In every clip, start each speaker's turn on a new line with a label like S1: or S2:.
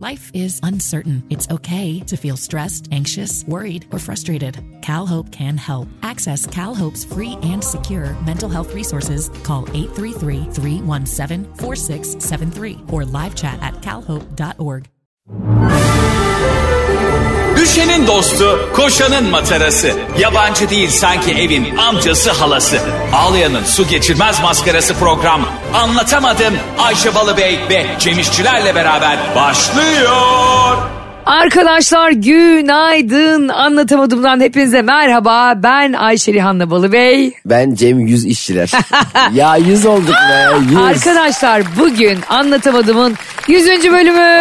S1: Life is uncertain. It's okay to feel stressed, anxious, worried, or frustrated. CalHope can help. Access CalHope's free and secure mental health resources. Call 833-317-4673 or live chat at calhope.org.
S2: Düşenin dostu, koşanın matarası. Yabancı değil sanki evin amcası halası. Ağlayanın su geçirmez maskarası program. Anlatamadım Ayşe Balıbey ve Cemişçilerle beraber başlıyor.
S3: Arkadaşlar günaydın. Anlatamadımdan hepinize merhaba. Ben Ayşe Rihanna Balıbey.
S4: Ben Cem 100 işçiler. ya 100 olduk be 100.
S3: Arkadaşlar bugün Anlatamadım'ın 100. bölümü.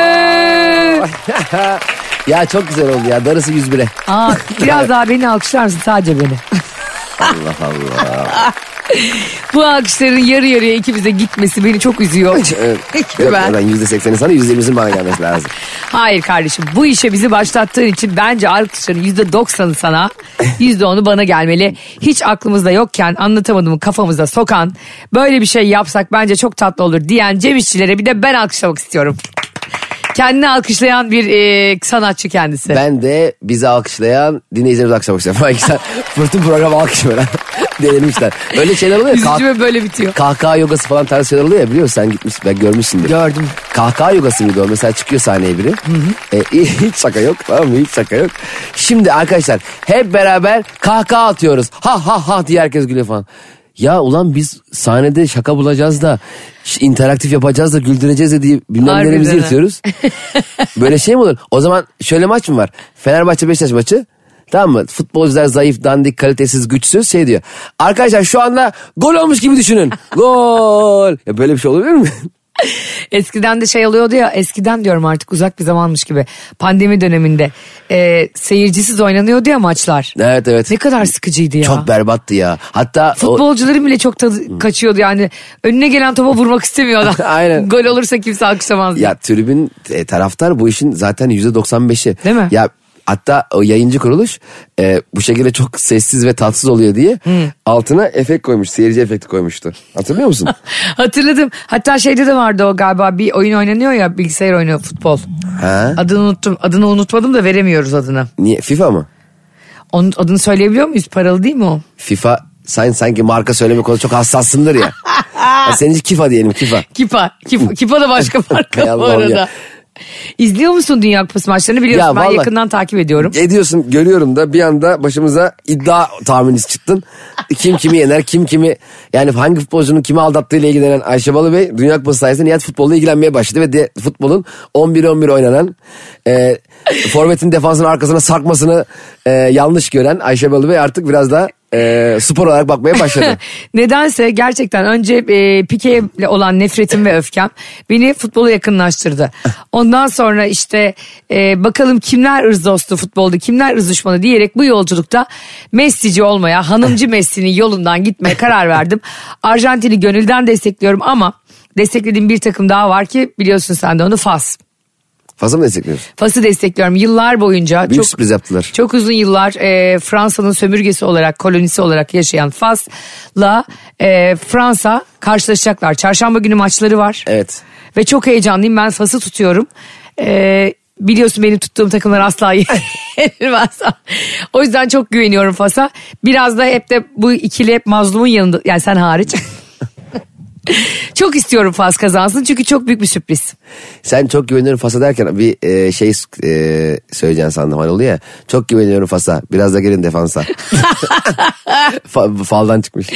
S4: ya çok güzel oldu ya darısı 101'e.
S3: Aa, biraz daha beni alkışlar mısın? Sadece beni.
S4: Allah Allah.
S3: Bu alkışların yarı yarıya ikimize gitmesi beni çok üzüyor.
S4: Evet.
S3: Peki
S4: Yok,
S3: ben-
S4: oradan %80'i sana %20'sin bana gelmesi lazım.
S3: Hayır kardeşim bu işe bizi başlattığın için bence alkışların %90'ı sana %10'u bana gelmeli. Hiç aklımızda yokken anlatamadığımı kafamıza sokan böyle bir şey yapsak bence çok tatlı olur diyen Cem İşçilere bir de ben alkışlamak istiyorum. Kendini alkışlayan bir e, sanatçı kendisi.
S4: Ben de bizi alkışlayan dinleyicilerimizi alkışlamak istiyorum. Bak işte Fırtın programı alkışlıyor. lan. Denemişler. Öyle şeyler oluyor ya.
S3: Üzücü
S4: Kah-
S3: ve böyle bitiyor.
S4: kahkaha yogası falan tarzı şeyler oluyor ya biliyor musun? Sen gitmiş ben görmüşsündür.
S3: Gördüm.
S4: Kahkaha yogası mıydı o? Mesela çıkıyor sahneye biri. E, hiç şaka yok tamam mı? Hiç şaka yok. Şimdi arkadaşlar hep beraber kahkaha atıyoruz. Ha ha ha diye herkes gülüyor falan. Ya ulan biz sahnede şaka bulacağız da ş- interaktif yapacağız da güldüreceğiz de diye bilmem
S3: Harbiden
S4: nelerimizi
S3: ha.
S4: yırtıyoruz. Böyle şey mi olur? O zaman şöyle maç mı var? Fenerbahçe Beşiktaş maçı. Tamam mı? Futbolcular zayıf, dandik, kalitesiz, güçsüz şey diyor. Arkadaşlar şu anda gol olmuş gibi düşünün. Gol. Ya böyle bir şey olabilir mi?
S3: Eskiden de şey oluyordu ya eskiden diyorum artık uzak bir zamanmış gibi pandemi döneminde e, seyircisiz oynanıyordu ya maçlar.
S4: evet evet.
S3: Ne kadar sıkıcıydı ya.
S4: Çok berbattı ya. Hatta o,
S3: Futbolcuların bile çok tadı kaçıyordu yani. Önüne gelen topa vurmak istemiyor adam.
S4: Aynen.
S3: Gol olursa kimse alkışlamaz.
S4: ya tribün e, taraftar bu işin zaten %95'i.
S3: Değil mi?
S4: Ya hatta o yayıncı kuruluş e, bu şekilde çok sessiz ve tatsız oluyor diye altına efekt koymuş. Seyirci efekti koymuştu. Hatırlıyor musun?
S3: Hatırladım. Hatta şeyde de vardı o galiba bir oyun oynanıyor ya bilgisayar oynuyor futbol.
S4: ha?
S3: Adını unuttum. Adını unutmadım da veremiyoruz adını.
S4: Niye? FIFA mı?
S3: Onun adını söyleyebiliyor muyuz? Paralı değil mi o?
S4: FIFA sen sanki marka söyleme konusu çok hassassındır ya. ya senin için Kifa diyelim Kifa.
S3: Kipa. Kipa, Kipa da başka
S4: Hay
S3: marka bu
S4: Allah'ım
S3: arada.
S4: ya.
S3: İzliyor musun Dünya Kupası maçlarını biliyorsun
S4: Ya
S3: ben
S4: vallahi-
S3: yakından takip ediyorum.
S4: Ediyorsun görüyorum da bir anda başımıza iddia tahmininiz çıktın. Kim kimi yener kim kimi yani hangi futbolcunun kimi aldattığıyla ilgilenen Ayşe Balıbey Dünya Kupası sayesinde nihayet futbolla ilgilenmeye başladı. Ve de, futbolun 11-11 oynanan e, forvetin defansının arkasına sarkmasını e, yanlış gören Ayşe Balıbey artık biraz daha e, spor olarak bakmaya başladı.
S3: Nedense gerçekten önce e, Pike'yle olan nefretim ve öfkem beni futbola yakınlaştırdı. Ondan sonra işte e, bakalım kimler ırz dostu futbolda, kimler ırz düşmanı diyerek bu yolculukta Messi'ci olmaya, hanımcı Messi'nin yolundan gitmeye karar verdim. Arjantin'i gönülden destekliyorum ama desteklediğim bir takım daha var ki biliyorsun sen de onu Fas.
S4: Fazla mı destekliyorsun?
S3: Fas'ı destekliyorum. Yıllar boyunca
S4: Büyük
S3: çok
S4: sürpriz yaptılar.
S3: çok uzun yıllar e, Fransa'nın sömürgesi olarak, kolonisi olarak yaşayan Fas'la e, Fransa karşılaşacaklar. Çarşamba günü maçları var.
S4: Evet.
S3: Ve çok heyecanlıyım. Ben Fas'ı tutuyorum. E, biliyorsun benim tuttuğum takımlar asla yenilmez. o yüzden çok güveniyorum Fas'a. Biraz da hep de bu ikili hep mazlumun yanında. Yani sen hariç. çok istiyorum Fas kazansın çünkü çok büyük bir sürpriz.
S4: Sen çok güveniyorum Fas'a derken bir e, şey e, söyleyeceğim sandım hani oluyor ya. Çok güveniyorum Fas'a biraz da gelin defansa. Fa- faldan çıkmış.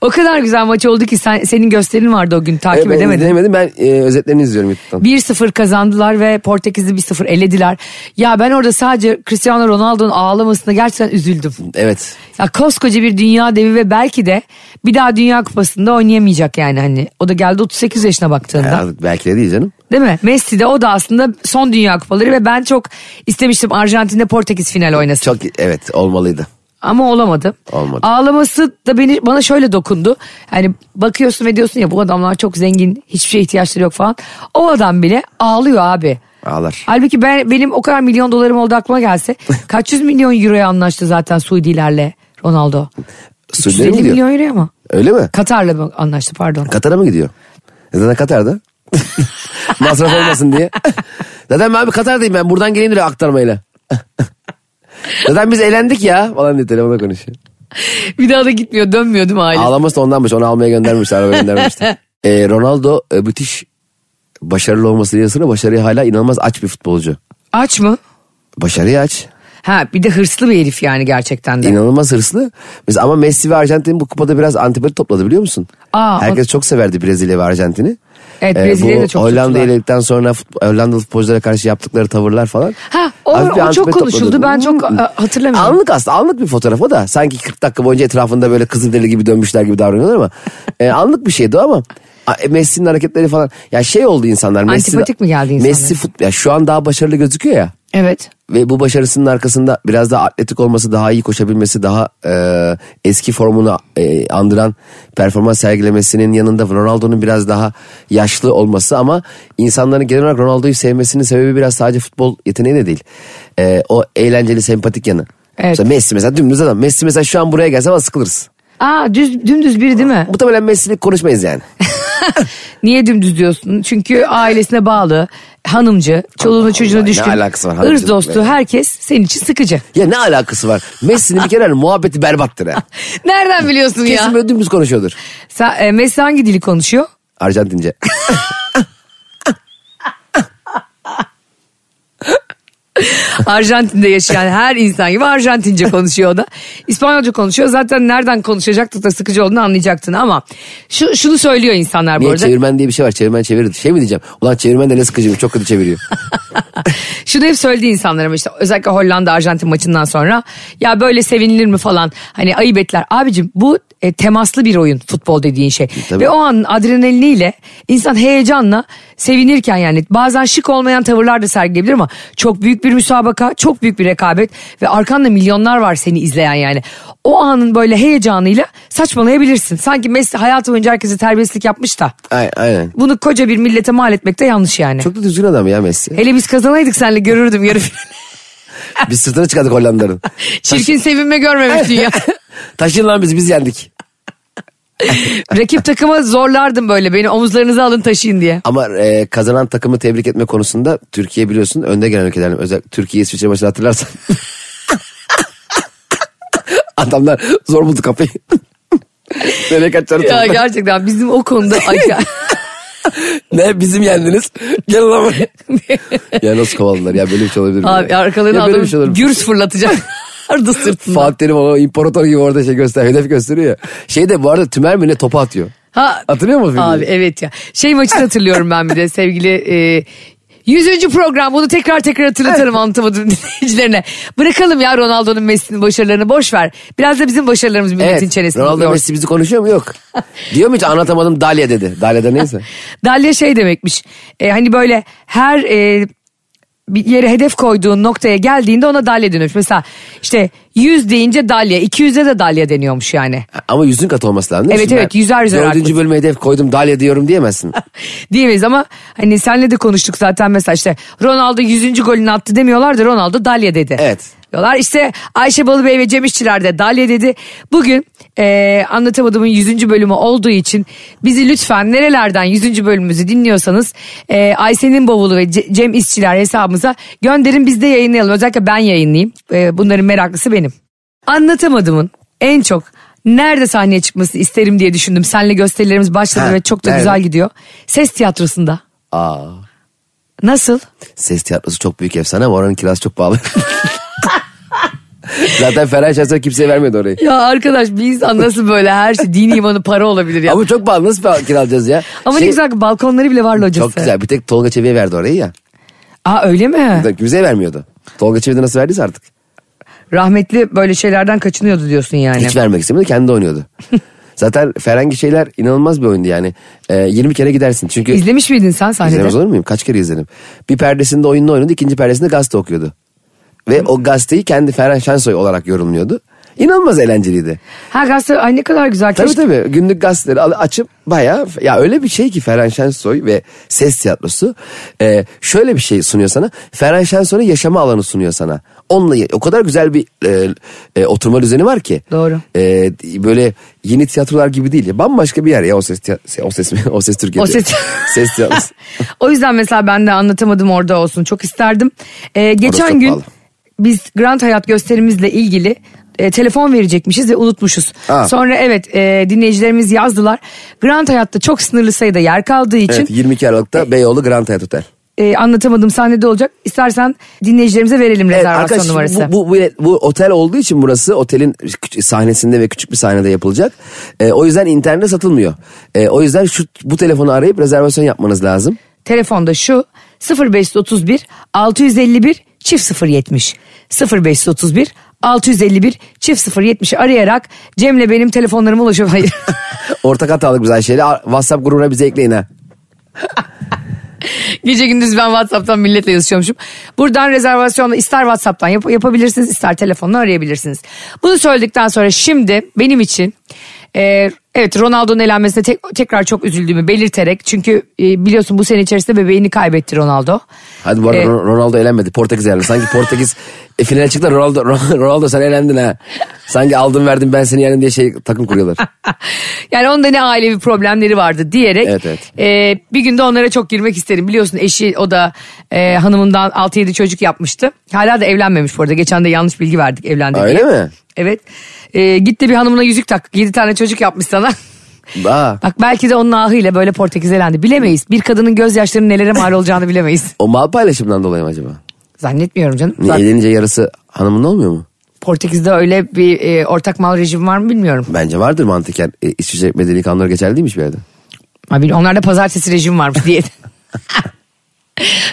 S3: O kadar güzel maç oldu ki sen, senin gösterin vardı o gün takip
S4: E, ben
S3: edemedim.
S4: izleyemedim, ben e, özetlerini izliyorum YouTube'dan.
S3: 1-0 kazandılar ve Portekiz'i 1-0 elediler. Ya ben orada sadece Cristiano Ronaldo'nun ağlamasına gerçekten üzüldüm.
S4: Evet.
S3: Ya koskoca bir dünya devi ve belki de bir daha Dünya Kupası'nda oynayamayacak yani hani. O da geldi 38 yaşına baktığında.
S4: Ya, belki de değil canım.
S3: Değil mi? Messi de o da aslında son Dünya Kupaları ve ben çok istemiştim Arjantin'de Portekiz final oynasın.
S4: Çok evet olmalıydı.
S3: Ama olamadı.
S4: Olmadı.
S3: Ağlaması da beni bana şöyle dokundu. Hani bakıyorsun ve diyorsun ya bu adamlar çok zengin, hiçbir şeye ihtiyaçları yok falan. O adam bile ağlıyor abi.
S4: Ağlar.
S3: Halbuki ben benim o kadar milyon dolarım oldu aklıma gelse. kaç yüz milyon euroya anlaştı zaten Suudilerle Ronaldo.
S4: Sürdürüyor mu
S3: 150
S4: diyor?
S3: milyon euroya mı?
S4: Öyle mi?
S3: Katar'la mı anlaştı pardon.
S4: Katar'a mı gidiyor? Zaten Katar'da. Masraf olmasın diye. Zaten ben abi Katar'dayım ben buradan geleyim de aktarmayla. Zaten biz eğlendik ya falan diye telefona konuşuyor.
S3: Bir daha da gitmiyor dönmüyor değil mi aile?
S4: Ağlaması da ondanmış. Onu almaya göndermişti. Araba göndermişti. Ee, Ronaldo e, müthiş başarılı olması yanı sıra başarıya hala inanılmaz aç bir futbolcu.
S3: Aç mı?
S4: Başarıya aç.
S3: Ha bir de hırslı bir herif yani gerçekten de.
S4: İnanılmaz hırslı. Mesela ama Messi ve Arjantin bu kupada biraz antipati topladı biliyor musun?
S3: Aa,
S4: Herkes çok severdi Brezilya ve Arjantin'i.
S3: Evet,
S4: Ee,
S3: Brezilya'yı
S4: bu
S3: da çok
S4: Hollanda
S3: tuttular.
S4: elendikten sonra fut- Hollandalı futbolculara karşı yaptıkları tavırlar falan.
S3: Ha, o-
S4: Hafif bir
S3: o çok
S4: antipati
S3: konuşuldu.
S4: topladı. Hmm.
S3: Ben çok, a- hatırlamıyorum.
S4: Anlık aslında anlık bir fotoğraf o da. Sanki 40 dakika boyunca etrafında böyle kızılderili gibi dönmüşler gibi davranıyorlar ama. e, anlık bir şeydi o ama. A- e, Messi'nin hareketleri falan. Ya şey oldu insanlar. Messi-
S3: Antipatik mi geldi insanlara?
S4: Messi fut, ya şu an daha başarılı gözüküyor ya
S3: Evet.
S4: ve bu başarısının arkasında biraz daha atletik olması, daha iyi koşabilmesi, daha e, eski formunu e, andıran performans sergilemesinin yanında Ronaldo'nun biraz daha yaşlı olması ama insanların genel olarak Ronaldo'yu sevmesinin sebebi biraz sadece futbol yeteneği de değil. E, o eğlenceli, sempatik yanı.
S3: Evet.
S4: Mesela Messi mesela dümdüz adam. Messi mesela şu an buraya gelse ama sıkılırız.
S3: Aa düz, dümdüz biri değil mi?
S4: Muhtemelen Messi'lik konuşmayız yani.
S3: Niye dümdüz diyorsun? Çünkü ailesine bağlı, hanımcı, çoluğuna çocuğuna
S4: Allah,
S3: düşkün.
S4: ne alakası var
S3: Irz
S4: hanımcılıkla
S3: dostu
S4: ya?
S3: herkes senin için sıkıcı.
S4: ya ne alakası var? Messi'nin bir kere hani muhabbeti berbattır ha.
S3: Nereden biliyorsun
S4: Kesin
S3: ya?
S4: böyle dümdüz konuşuyordur.
S3: Sen, e, Messi hangi dili konuşuyor?
S4: Arjantince.
S3: Arjantin'de yaşayan her insan gibi Arjantince konuşuyor o da. İspanyolca konuşuyor. Zaten nereden konuşacaktık da sıkıcı olduğunu anlayacaktın ama şu, şunu söylüyor insanlar bu
S4: Niye
S3: arada.
S4: çevirmen diye bir şey var çevirmen çevirir. Şey mi diyeceğim? Ulan çevirmen de ne sıkıcıymış çok kötü çeviriyor.
S3: Şunu hep söyledi insanlara işte özellikle Hollanda Arjantin maçından sonra ya böyle sevinilir mi falan hani ayıp etler. Abicim bu e, temaslı bir oyun futbol dediğin şey.
S4: Tabii.
S3: Ve o an adrenaliniyle insan heyecanla sevinirken yani bazen şık olmayan tavırlar da sergileyebilir ama çok büyük bir müsabaka, çok büyük bir rekabet ve arkanda milyonlar var seni izleyen yani. O anın böyle heyecanıyla saçmalayabilirsin. Sanki Messi hayatı boyunca herkese terbiyesizlik yapmış da
S4: Ay- Aynen.
S3: bunu koca bir millete mal etmek de yanlış yani.
S4: Çok da düzgün adam ya Messi.
S3: Hele biz kazanaydık senle görürdüm yarı final.
S4: Biz sırtına çıkardık Hollanda'nın.
S3: Çirkin sevinme görmemiş dünya.
S4: Taşın lan biz biz yendik.
S3: Rakip takıma zorlardım böyle beni omuzlarınıza alın taşıyın diye.
S4: Ama e, kazanan takımı tebrik etme konusunda Türkiye biliyorsun önde gelen ülkelerden. Özellikle Türkiye İsviçre maçını hatırlarsan. Adamlar zor buldu kapıyı. Nereye kaçacağını
S3: Ya
S4: çocuklar.
S3: gerçekten bizim o konuda acayip.
S4: Ne bizim yendiniz. Gel lan buraya. ya nasıl kovaladılar ya böyle bir şey olabilir mi?
S3: Abi
S4: ya?
S3: arkalarına
S4: Ya böyle bir şey olur
S3: adam
S4: mu?
S3: gürs fırlatacaklardı sırtından.
S4: Fatih Terim ona imparator gibi orada şey göster, hedef gösteriyor ya. Şey de bu arada Tümer mi ne topu atıyor.
S3: Ha,
S4: Hatırlıyor musun? filmi?
S3: Abi evet ya. Şey maçını hatırlıyorum ben bir de sevgili... E, 100. program bunu tekrar tekrar hatırlatırım anlatamadım dinleyicilerine. Bırakalım ya Ronaldo'nun Messi'nin başarılarını boş ver. Biraz da bizim başarılarımız milletin
S4: Evet.
S3: çenesine
S4: Ronaldo
S3: vuruyor.
S4: Messi bizi konuşuyor mu? Yok. Diyor mu hiç anlatamadım Dalia dedi. Dalia da neyse.
S3: Dalya şey demekmiş. E, hani böyle her e, bir yere hedef koyduğun noktaya geldiğinde ona dalya dönüyormuş. Mesela işte 100 deyince dalya, 200'e de dalya deniyormuş yani.
S4: Ama yüzün kat olması lazım. değil mi?
S3: Evet,
S4: Şimdi
S3: evet,
S4: ben
S3: yüzer yüzer
S4: Dördüncü
S3: haklısın.
S4: bölüme hedef koydum Dalia diyorum diyemezsin.
S3: Diyemeyiz ama hani senle de konuştuk zaten mesela işte Ronaldo 100. golünü attı demiyorlar da Ronaldo dalya dedi.
S4: Evet.
S3: Diyorlar işte Ayşe Balıbey ve Cem İşçiler de dalya dedi. Bugün e, anlatamadığımın 100. bölümü olduğu için bizi lütfen nerelerden 100. bölümümüzü dinliyorsanız e, Ayşe'nin bavulu ve Ce- Cem İşçiler hesabımıza gönderin biz de yayınlayalım. Özellikle ben yayınlayayım. E, bunların meraklısı benim. Anlatamadığımın en çok nerede sahneye çıkmasını isterim diye düşündüm. Senle gösterilerimiz başladı
S4: Ha,
S3: ve çok da
S4: nerede?
S3: güzel gidiyor. Ses tiyatrosunda.
S4: Aa,
S3: Nasıl?
S4: ses tiyatrosu çok büyük efsane ama oranın kirası çok pahalı. Zaten Ferhan Şahsör kimseye vermedi orayı.
S3: Ya arkadaş bir insan nasıl böyle her şey dini imanı para olabilir ya. Ama,
S4: Ama çok pahalı nasıl pahalı kiralayacağız ya?
S3: ne
S4: Şey,
S3: güzel ki balkonları bile var locası.
S4: Çok güzel bir tek Tolga Çevi'ye verdi orayı ya.
S3: Aa öyle mi?
S4: Kimseye vermiyordu. Tolga Çevi de nasıl verdiyse artık.
S3: Rahmetli böyle şeylerden kaçınıyordu diyorsun yani.
S4: Hiç vermek istemedi kendi oynuyordu. Zaten Ferengi şeyler inanılmaz bir oyundu yani. Ee, 20 kere gidersin çünkü
S3: İzlemiş miydin sen sahnede?
S4: izlemez olur muyum? Kaç kere izledim. Bir perdesinde oyununu oynadı ikinci perdesinde gazete okuyordu. Ve o gazeteyi kendi Ferhan Şensoy olarak yorumluyordu. İnanılmaz eğlenceliydi.
S3: Ha gazete ay ne kadar güzel.
S4: Tabii
S3: Keşke-
S4: tabii günlük gazeteleri al- açıp bayağı ya öyle bir şey ki Ferhan Şensoy ve ses tiyatrosu e, şöyle bir şey sunuyor sana. Ferhan Şensoy'un yaşama alanı sunuyor sana. Onunla o kadar güzel bir e, e, oturma düzeni var ki.
S3: Doğru.
S4: E, böyle yeni tiyatrolar gibi değil ya bambaşka bir yer ya o ses tiya- o ses mi? o ses Türkiye.
S3: O
S4: diyor.
S3: ses-
S4: ses tiyatrosu.
S3: o yüzden mesela ben de anlatamadım orada olsun. Çok isterdim. Ee, geçen
S4: çok
S3: gün
S4: pahalı.
S3: biz Grand Hayat gösterimizle ilgili e, telefon verecekmişiz ve unutmuşuz.
S4: Aa.
S3: Sonra evet e, dinleyicilerimiz yazdılar. Grand Hayat'ta çok sınırlı sayıda yer kaldığı için
S4: evet 22 Aralık'ta Beyoğlu Grand Hyatt Otel.
S3: e, anlatamadım sahnede olacak. İstersen dinleyicilerimize verelim
S4: Evet,
S3: rezervasyon
S4: arkadaşlar,
S3: numarası.
S4: Bu, bu, bu, bu otel olduğu için burası otelin küç- sahnesinde ve küçük bir sahnede yapılacak. Ee, o yüzden internette satılmıyor. Ee, o yüzden şu bu telefonu arayıp rezervasyon yapmanız lazım.
S3: Telefonda şu 0531 651 çift 070 0531 651 çift 070'i arayarak Cem'le benim telefonlarıma ulaşıyor. Hayır.
S4: Ortak hatalık biz Ayşe'yle. Ar- WhatsApp grubuna bizi ekleyin ha.
S3: Gece gündüz ben WhatsApp'tan milletle yazışıyormuşum. Buradan rezervasyonla ister WhatsApp'tan yap- yapabilirsiniz ister telefonla arayabilirsiniz. Bunu söyledikten sonra şimdi benim için e, evet Ronaldo'nun elenmesine tek- tekrar çok üzüldüğümü belirterek çünkü e, biliyorsun bu sene içerisinde bebeğini kaybetti Ronaldo.
S4: Hadi bu arada
S3: E,
S4: Ron- Ronaldo elenmedi. Portekiz elendi. Sanki Portekiz e, finale çıktı da Ronaldo, Ron- Ronaldo sen elendin ha. Sanki aldım verdim ben seni yendim diye şey takım kuruyorlar.
S3: yani onda ne ailevi problemleri vardı diyerek
S4: Evet, evet.
S3: e, bir günde onlara çok girmek isterim. Biliyorsun eşi o da e, hanımından 6-7 çocuk yapmıştı. Hala da evlenmemiş bu arada. Geçen de yanlış bilgi verdik evlendi
S4: Öyle
S3: diye.
S4: mi?
S3: Evet. E, gitti bir hanımına yüzük tak. 7 tane çocuk yapmış sana.
S4: Aa,
S3: Bak belki de onun ahıyla böyle Portekiz elendi. Bilemeyiz. Bir kadının gözyaşlarının nelere mal olacağını bilemeyiz.
S4: o mal paylaşımından dolayı mı acaba?
S3: Zannetmiyorum canım.
S4: Niye
S3: Zaten
S4: elenince yarısı hanımın olmuyor mu?
S3: Portekiz'de öyle bir e, ortak mal rejimi var mı bilmiyorum.
S4: Bence vardır mantıken. E, İsviçre medeni kanunları geçerli değilmiş bir yerde.
S3: Ha, bil- Onlarda pazartesi rejimi varmış diye.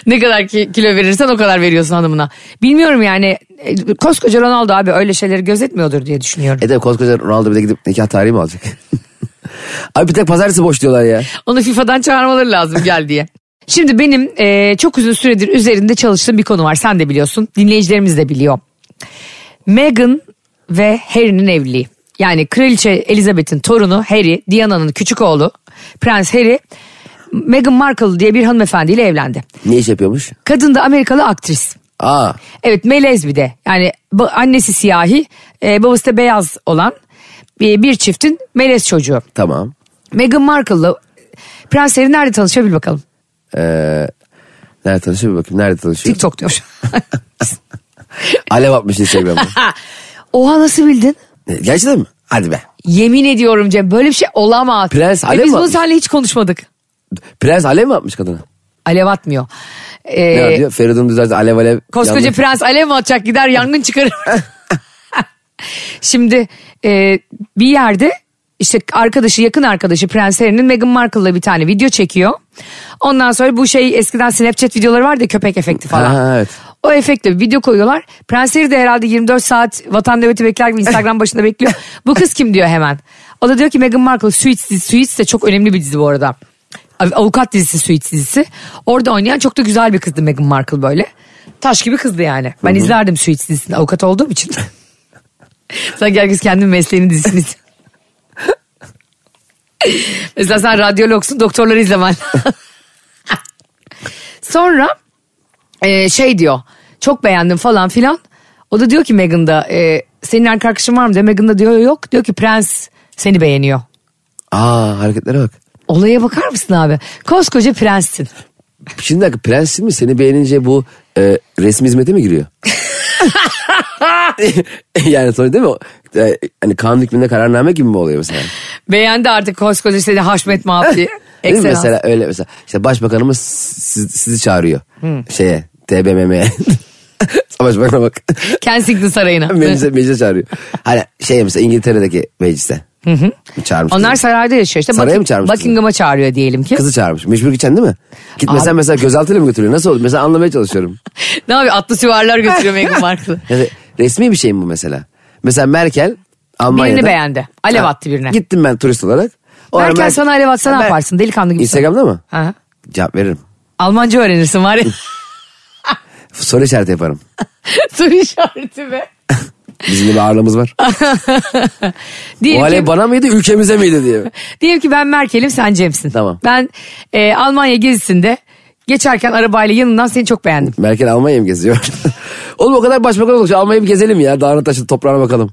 S3: ne kadar ki- kilo verirsen o kadar veriyorsun hanımına. Bilmiyorum yani e, koskoca Ronaldo abi öyle şeyleri gözetmiyordur diye düşünüyorum.
S4: E de koskoca Ronaldo bir de gidip nikah tarihi mi alacak? Abi bir tek pazartesi boş diyorlar ya.
S3: Onu FIFA'dan çağırmaları lazım gel diye. Şimdi benim e, çok uzun süredir üzerinde çalıştığım bir konu var. Sen de biliyorsun. Dinleyicilerimiz de biliyor. Meghan ve Harry'nin evliliği. Yani Kraliçe Elizabeth'in torunu Harry, Diana'nın küçük oğlu Prens Harry Meghan Markle diye bir hanımefendiyle evlendi.
S4: Ne iş yapıyormuş?
S3: Kadın da Amerikalı aktris.
S4: Aa
S3: Evet melez bir de. Yani ba- annesi siyahi, e, babası da beyaz olan bir, bir çiftin melez çocuğu.
S4: tamam.
S3: Meghan Markle'la Prens Harry nerede tanışıyor bil bakalım.
S4: Ee, nerede tanışıyor bir bakayım. Nerede tanışıyor?
S3: TikTok diyor.
S4: Alev atmış Instagram'a.
S3: Oha nasıl bildin?
S4: E, Gerçekten mi? Hadi be.
S3: Yemin ediyorum Cem böyle bir şey olamaz.
S4: Prens
S3: Ve
S4: Alev
S3: Biz bunu
S4: atmış.
S3: seninle hiç konuşmadık.
S4: Prens alev mi atmış kadına?
S3: Alev atmıyor. Ee,
S4: Ne var diyor? Feridun düzelse alev alev.
S3: koskoca
S4: yandı.
S3: prens alev mi atacak gider yangın çıkarır. Şimdi e, bir yerde işte arkadaşı yakın arkadaşı Prens Harry'nin Meghan Markle'la bir tane video çekiyor. Ondan sonra bu şey eskiden Snapchat videoları vardı ya, köpek efekti falan.
S4: Ha, evet.
S3: O efektle bir video koyuyorlar. Prens Harry de herhalde 24 saat vatan nöbeti bekler gibi Instagram başında bekliyor. Bu kız kim diyor hemen. O da diyor ki Meghan Markle Suits dizisi. Suits de çok önemli bir dizi bu arada. Av- Avukat dizisi Suits dizisi. Orada oynayan çok da güzel bir kızdı Meghan Markle böyle. Taş gibi kızdı yani. Ben izlerdim Suits dizisini avukat olduğum için. Sanki herkes kendi mesleğini dizisini izliyor. Mesela sen radyologsun doktorları izlemen lazım. Sonra e, şey diyor çok beğendim falan filan. O da diyor ki Meghan'da e, senin erkek arkadaşın var mı diyor. Meghan da diyor yok. Diyor ki prens seni beğeniyor.
S4: Aa hareketlere bak.
S3: Olaya bakar mısın abi? Koskoca prenssin.
S4: Şimdi bir dakika prensin mi? Seni beğenince bu e, resmi hizmete mi giriyor? yani sonra değil mi? o? E, hani kanun hükmünde kararname gibi mi oluyor mesela?
S3: Beğendi artık koskoca seni Haşmet Mahap diye.
S4: Değil mi?
S3: Excellence.
S4: Mesela öyle mesela işte başbakanımız siz- sizi çağırıyor
S3: Hmm.
S4: şeye TBMM'ye. Savaş bakana bak.
S3: Kensington Sarayı'na.
S4: meclise, meclise çağırıyor. Hani şey mesela İngiltere'deki meclise. Çağırmış.
S3: Onlar
S4: kızı.
S3: sarayda yaşıyor işte.
S4: Saraya
S3: Bucking-
S4: mı çağırmıştınız?
S3: Buckingham'a çağırıyor diyelim ki.
S4: Kızı çağırmış. Mecbur gideceksin değil mi? Gitmesen
S3: Abi-
S4: mesela gözaltıyla mı götürüyor? Nasıl olur? Mesela anlamaya çalışıyorum.
S3: ne yapıyor? Atlı süvariler götürüyor Meghan Markle'ı.
S4: Yani resmi bir şey mi bu mesela? Mesela Merkel Almanya'da.
S3: Birini beğendi. Alev
S4: Ha,
S3: attı birine.
S4: Gittim ben turist olarak. O ara
S3: Merkel
S4: Mer-
S3: sana alev atsa ne
S4: Mer-
S3: yaparsın? Delikanlı gibi.
S4: Instagram'da mı?
S3: Hı hı.
S4: Cevap veririm.
S3: Almanca öğrenirsin var ya.
S4: Soru işareti yaparım.
S3: Soru işareti be.
S4: Bizim de bir ağırlığımız var. O
S3: Diyelim
S4: alev
S3: ki,
S4: bana mıydı ülkemize miydi diye.
S3: diyelim ki ben Merkel'im sen Cem'sin.
S4: Tamam.
S3: Ben e, Almanya gezisinde geçerken arabayla yanından seni çok beğendim.
S4: Merkel Almanya'yı mı geziyor? Oğlum o kadar başbakan olmuş. Almanya'yı bir gezelim ya. Dağına taşın toprağına bakalım.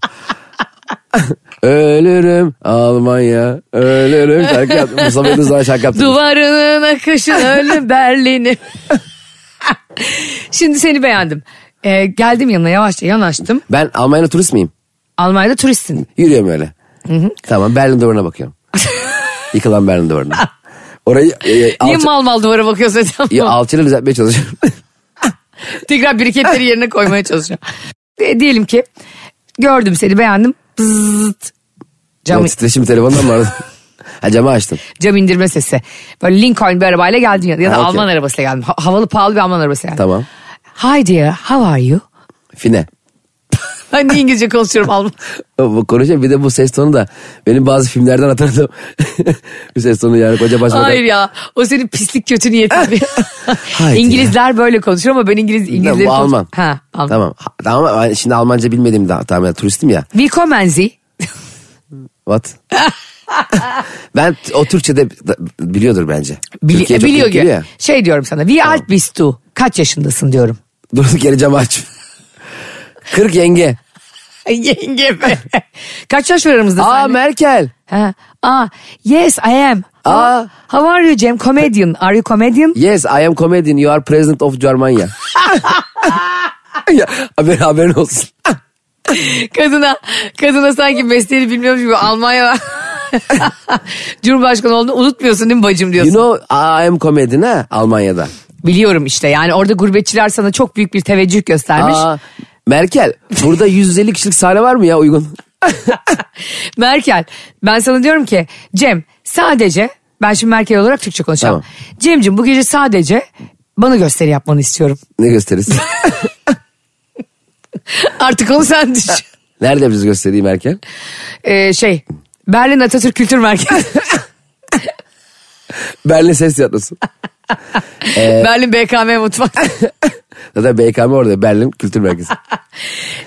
S4: ölürüm Almanya. Ölürüm. Şarkı yaptım. Mustafa Yıldız'dan şarkı yaptım.
S3: Duvarının akışını ölüm Berlin'i. Şimdi seni beğendim. E, geldim yanına yavaşça yanaştım.
S4: Ben Almanya'da turist miyim?
S3: Almanya'da turistsin.
S4: Yürüyorum öyle. Tamam Berlin duvarına bakıyorum. Yıkılan Berlin duvarına. Orayı e, e,
S3: Niye
S4: alça-
S3: mal mal duvara bakıyorsun?
S4: ya, alçıyla düzeltmeye çalışıyorum.
S3: Tekrar biriketleri yerine koymaya çalışıyorum. E, diyelim ki gördüm seni beğendim. Bzzzt. Cam,
S4: Cam... Titreşim telefondan mı aradın? ha camı açtım.
S3: cam indirme sesi. Böyle Lincoln bir arabayla geldim ya, ya da
S4: Ha, okey.
S3: Alman arabasıyla geldim. Ha- havalı pahalı bir Alman arabası yani.
S4: Tamam.
S3: Hi dear how are you?
S4: Fine.
S3: Ben de İngilizce konuşuyorum Alman.
S4: O- Bu konuşuyor. Bir de bu ses tonu da benim bazı filmlerden hatırladım. bir ses tonu yani koca başbakan.
S3: Hayır ya o senin pislik kötü niyetin.
S4: Haydi
S3: İngilizler böyle konuşuyor ama ben İngiliz
S4: Ne,
S3: İngilizleri
S4: bu
S3: konuş-
S4: Alman.
S3: Ha, Alman.
S4: Tamam. Ha, Tamam ben şimdi Almanca bilmediğim daha tamam ya turistim ya.
S3: Willkommen Sie.
S4: What? ben t- o Türkçe'de da- biliyordur bence.
S3: Bili-
S4: Türkiye çok
S3: biliyor
S4: yetkili
S3: ki. Şey diyorum sana. Wie alt bist du? Kaç yaşındasın diyorum.
S4: Durduk yere camı aç. 40 yenge.
S3: Yenge mi? Kaç yaş var aramızda
S4: Aa
S3: senle?
S4: Merkel.
S3: Ha. Aa, yes I am.
S4: Aa.
S3: How are you Cem? Comedian. Are you comedian?
S4: Yes I am comedian. You are president of Germany. ya, haber, haberin olsun.
S3: Kadına, kadına sanki mesleğini bilmiyormuş gibi Almanya Cumhurbaşkanı olduğunu unutmuyorsun değil mi bacım diyorsun.
S4: You know I am comedian ha Almanya'da.
S3: Biliyorum işte yani orada gurbetçiler sana çok büyük bir teveccüh göstermiş.
S4: Aa, Merkel burada 150 kişilik sahne var mı ya uygun?
S3: Merkel ben sana diyorum ki Cem sadece ben şimdi Merkel olarak Türkçe konuşacağım. Cemcim bu gece sadece bana gösteri yapmanı istiyorum.
S4: Ne gösteririz?
S3: Artık onu sen düşün.
S4: Nerede yapacağız gösteriyi Merkel?
S3: Ee, şey Berlin Atatürk Kültür Merkezi.
S4: Berlin Ses Tiyatrosu. Ee,
S3: Berlin BKM mutfak.
S4: Zaten BKM orada Berlin Kültür Merkezi.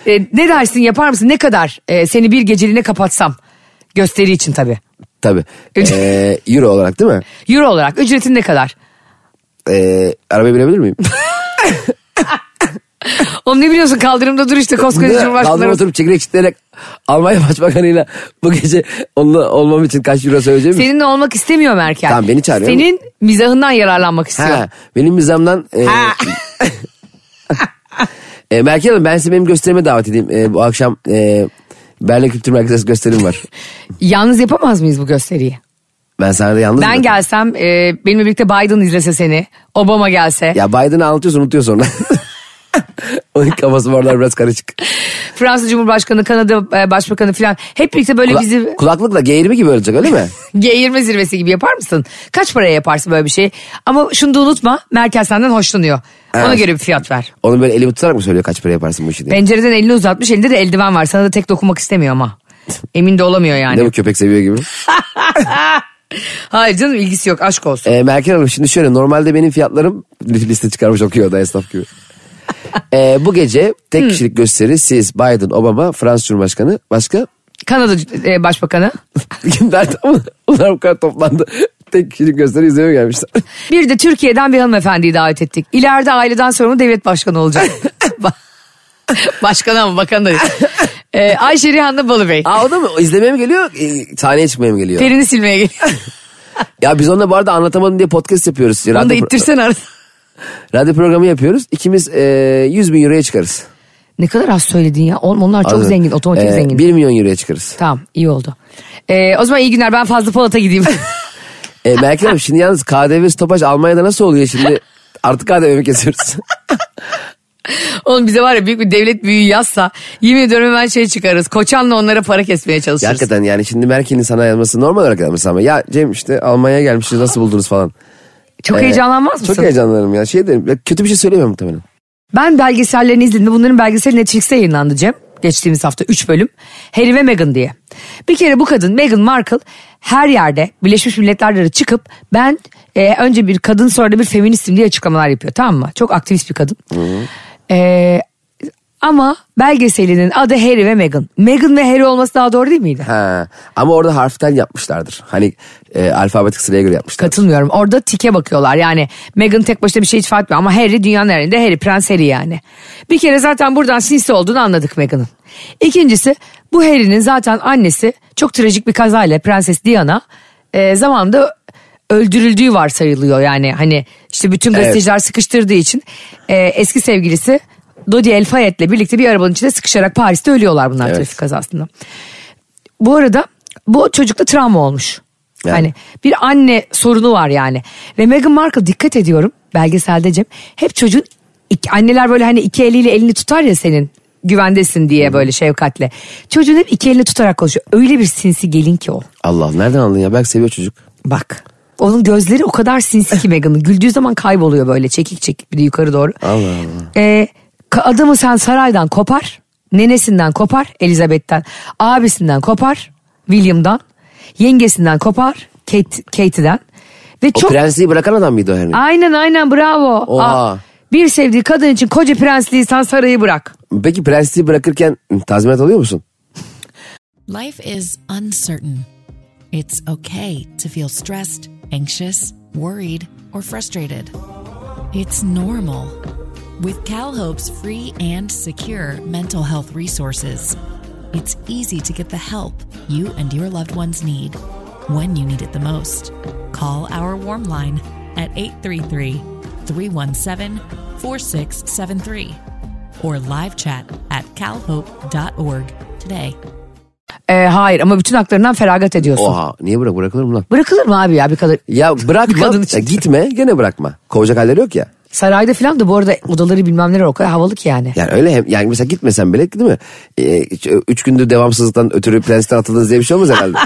S3: Ee, ne dersin yapar mısın? Ne kadar e, seni bir geceliğine kapatsam? Gösteri için tabii.
S4: Tabii. Ee, Euro olarak değil mi?
S3: Euro olarak ücretin ne kadar?
S4: Ee, arabaya binebilir miyim?
S3: Oğlum ne biliyorsun kaldırımda dur işte koskoca
S4: Kaldım
S3: Cumhurbaşkanı.
S4: oturup çekerek çitleyerek Almanya Başbakanı'yla bu gece onunla olmam için kaç euro söyleyeceğim mi?
S3: Seninle olmak istemiyor Merkel.
S4: Tamam, beni çağırıyor mu?
S3: Senin mizahından yararlanmak istiyor.
S4: Ha, benim mizamdan... E, e, Merkel Hanım ben sizi benim gösterime davet edeyim. E, bu akşam e, Berlin Kültür Merkezi gösterim var.
S3: Yalnız yapamaz mıyız bu gösteriyi?
S4: Ben sahnede yalnız
S3: Ben
S4: mı?
S3: gelsem e, benimle birlikte Biden izlese seni. Obama gelse.
S4: Ya Biden'ı anlatıyorsun unutuyor sonra. Onun kafası bu aralar biraz karışık.
S3: Fransa Cumhurbaşkanı, Kanada e, Başbakanı falan. Hep birlikte böyle
S4: Kula-
S3: bizi...
S4: Kulaklıkla G20 gibi ölecek öyle mi?
S3: G20 zirvesi gibi yapar mısın? Kaç paraya yaparsın böyle bir şey? Ama şunu da unutma Merkel senden hoşlanıyor. Ona
S4: Evet.
S3: göre bir fiyat ver.
S4: Onu böyle elimi tutarak mı söylüyor kaç para yaparsın bu işi diye?
S3: Pencereden elini uzatmış elinde de eldiven var. Sana da tek dokunmak istemiyor ama. Emin de olamıyor
S4: Ne
S3: yani.
S4: bu köpek seviyor gibi.
S3: Hayır canım ilgisi yok aşk olsun.
S4: Ee, Merkel Hanım şimdi şöyle normalde benim fiyatlarım liste çıkarmış okuyor da esnaf gibi. Ee, bu gece tek kişilik gösteri siz Biden, Obama, Fransız Cumhurbaşkanı başka
S3: Kanada e, Başbakanı.
S4: kimler tam- onlar bu kadar toplandı. Tek kişilik gösteri izlemeye gelmişler.
S3: Bir de Türkiye'den bir hanımefendiyi davet ettik. İleride aileden sorumlu devlet başkanı olacak. Başkan ama bakan da değil. Ee, Ayşe Rihanna Balıbey.
S4: Aa o da mı? O İzlemeye mi geliyor? E, sahneye çıkmaya mı geliyor?
S3: Perini silmeye geliyor.
S4: Ya biz onunla bu arada anlatamadım diye podcast yapıyoruz.
S3: Onu da
S4: Radyo-
S3: ittirsen arada.
S4: Radyo programı yapıyoruz. İkimiz e, 100 bin euroya çıkarız.
S3: Ne kadar az söyledin ya. Oğlum Onlar çok
S4: Anladın mı?
S3: zengin, otomotiv
S4: Ee,
S3: zengin.
S4: 1 milyon euroya çıkarız.
S3: Tamam iyi oldu. Ee, o zaman iyi günler ben Fazlı Polat'a gideyim.
S4: E, Merkel Hanım şimdi yalnız KDV stopaj Almanya'da nasıl oluyor şimdi? Artık KDV mi kesiyoruz?
S3: Oğlum bize var ya büyük bir devlet büyüğü yazsa yemin ediyorum hemen şey çıkarız. Koçanla onlara para kesmeye
S4: Ya
S3: çalışırız.
S4: hakikaten yani şimdi Merkel'in sana yazması normal olarak yazması ama ya Cem işte Almanya'ya gelmişiz nasıl buldunuz falan.
S3: çok
S4: Ee,
S3: heyecanlanmaz mısın?
S4: Çok heyecanlanırım ya şey derim ya kötü bir şey söylemiyorum muhtemelen.
S3: Ben belgesellerini izledim. Bunların belgeseli Netflix'te yayınlandı Cem. Geçtiğimiz hafta 3 bölüm. Harry ve Meghan diye. Bir kere bu kadın Meghan Markle her yerde Birleşmiş Milletler'de de çıkıp ben e, önce bir kadın sonra da bir feministim diye açıklamalar yapıyor tamam mı? Çok aktivist bir kadın. E, Ama belgeselinin adı Harry ve Meghan. Meghan ve Harry olması daha doğru değil miydi?
S4: Ha. Ama orada harften yapmışlardır. Hani e, alfabetik sıraya göre yapmışlar.
S3: Katılmıyorum. Orada tike bakıyorlar. Yani Meghan tek başına bir şey ifade etmiyor ama Harry dünyanın herinde Harry prens Harry yani. Bir kere zaten buradan sinsi olduğunu anladık Meghan'ın. İkincisi bu Harry'nin zaten annesi çok trajik bir kazayla prenses Diana e, zamanında öldürüldüğü varsayılıyor. Yani hani işte bütün
S4: Evet.
S3: gazeteciler sıkıştırdığı için e, eski sevgilisi Dodi El Fayet'le birlikte bir arabanın içinde sıkışarak Paris'te ölüyorlar bunlar
S4: Evet.
S3: trafik kazasında. Bu arada bu çocukta travma olmuş.
S4: Yani.
S3: Hani bir anne sorunu var yani. Ve Meghan Markle dikkat ediyorum belgeselde Cem. Hep çocuğun iki- anneler böyle hani iki eliyle elini tutar ya senin güvendesin diye böyle şefkatle. Çocuğun hep iki elini tutarak konuşuyor. Öyle bir sinsi gelin ki o.
S4: Allah nereden anladın ya? Belki seviyor çocuk.
S3: Bak. Onun gözleri o kadar sinsi ki Meghan'ın. Güldüğü zaman kayboluyor böyle çekik çekik bir de yukarı doğru.
S4: Allah Allah.
S3: Ee, ka- adamı sen saraydan kopar. Nenesinden kopar Elizabeth'ten. Abisinden kopar William'dan. Yengesinden kopar Kate, Kate'den. Ve
S4: O
S3: çok
S4: prensliği bırakan adam mıydı o Henry?
S3: Aynen aynen bravo.
S4: Oha.
S3: Aa, bir sevdiği kadın için koca prensliği sen sarayı bırak.
S4: Peki prensliği bırakırken tazminat alıyor musun?
S1: Life is uncertain. It's okay to feel stressed, anxious, worried, or frustrated. It's normal. With CalHope's free and secure mental health resources, it's easy to get the help you and your loved ones need when you need it the most. Call our warm line at 833 317 4673 or live chat at calhope.org today.
S3: Ee, hayır ama bütün haklarından feragat ediyorsun.
S4: Oha niye bırak bırakılır mı lan?
S3: Bırakılır mı abi ya bir kadın?
S4: Ya bırakma
S3: kadın
S4: ya
S3: için.
S4: gitme gene bırakma. Kovacak halleri yok ya.
S3: Sarayda falan da bu arada odaları bilmem neler o kadar havalı ki yani.
S4: Yani öyle hem yani mesela gitmesen bile değil mi? Ee, hiç, ö- üç gündür devamsızlıktan ötürü prensten atıldınız diye bir şey olmaz herhalde.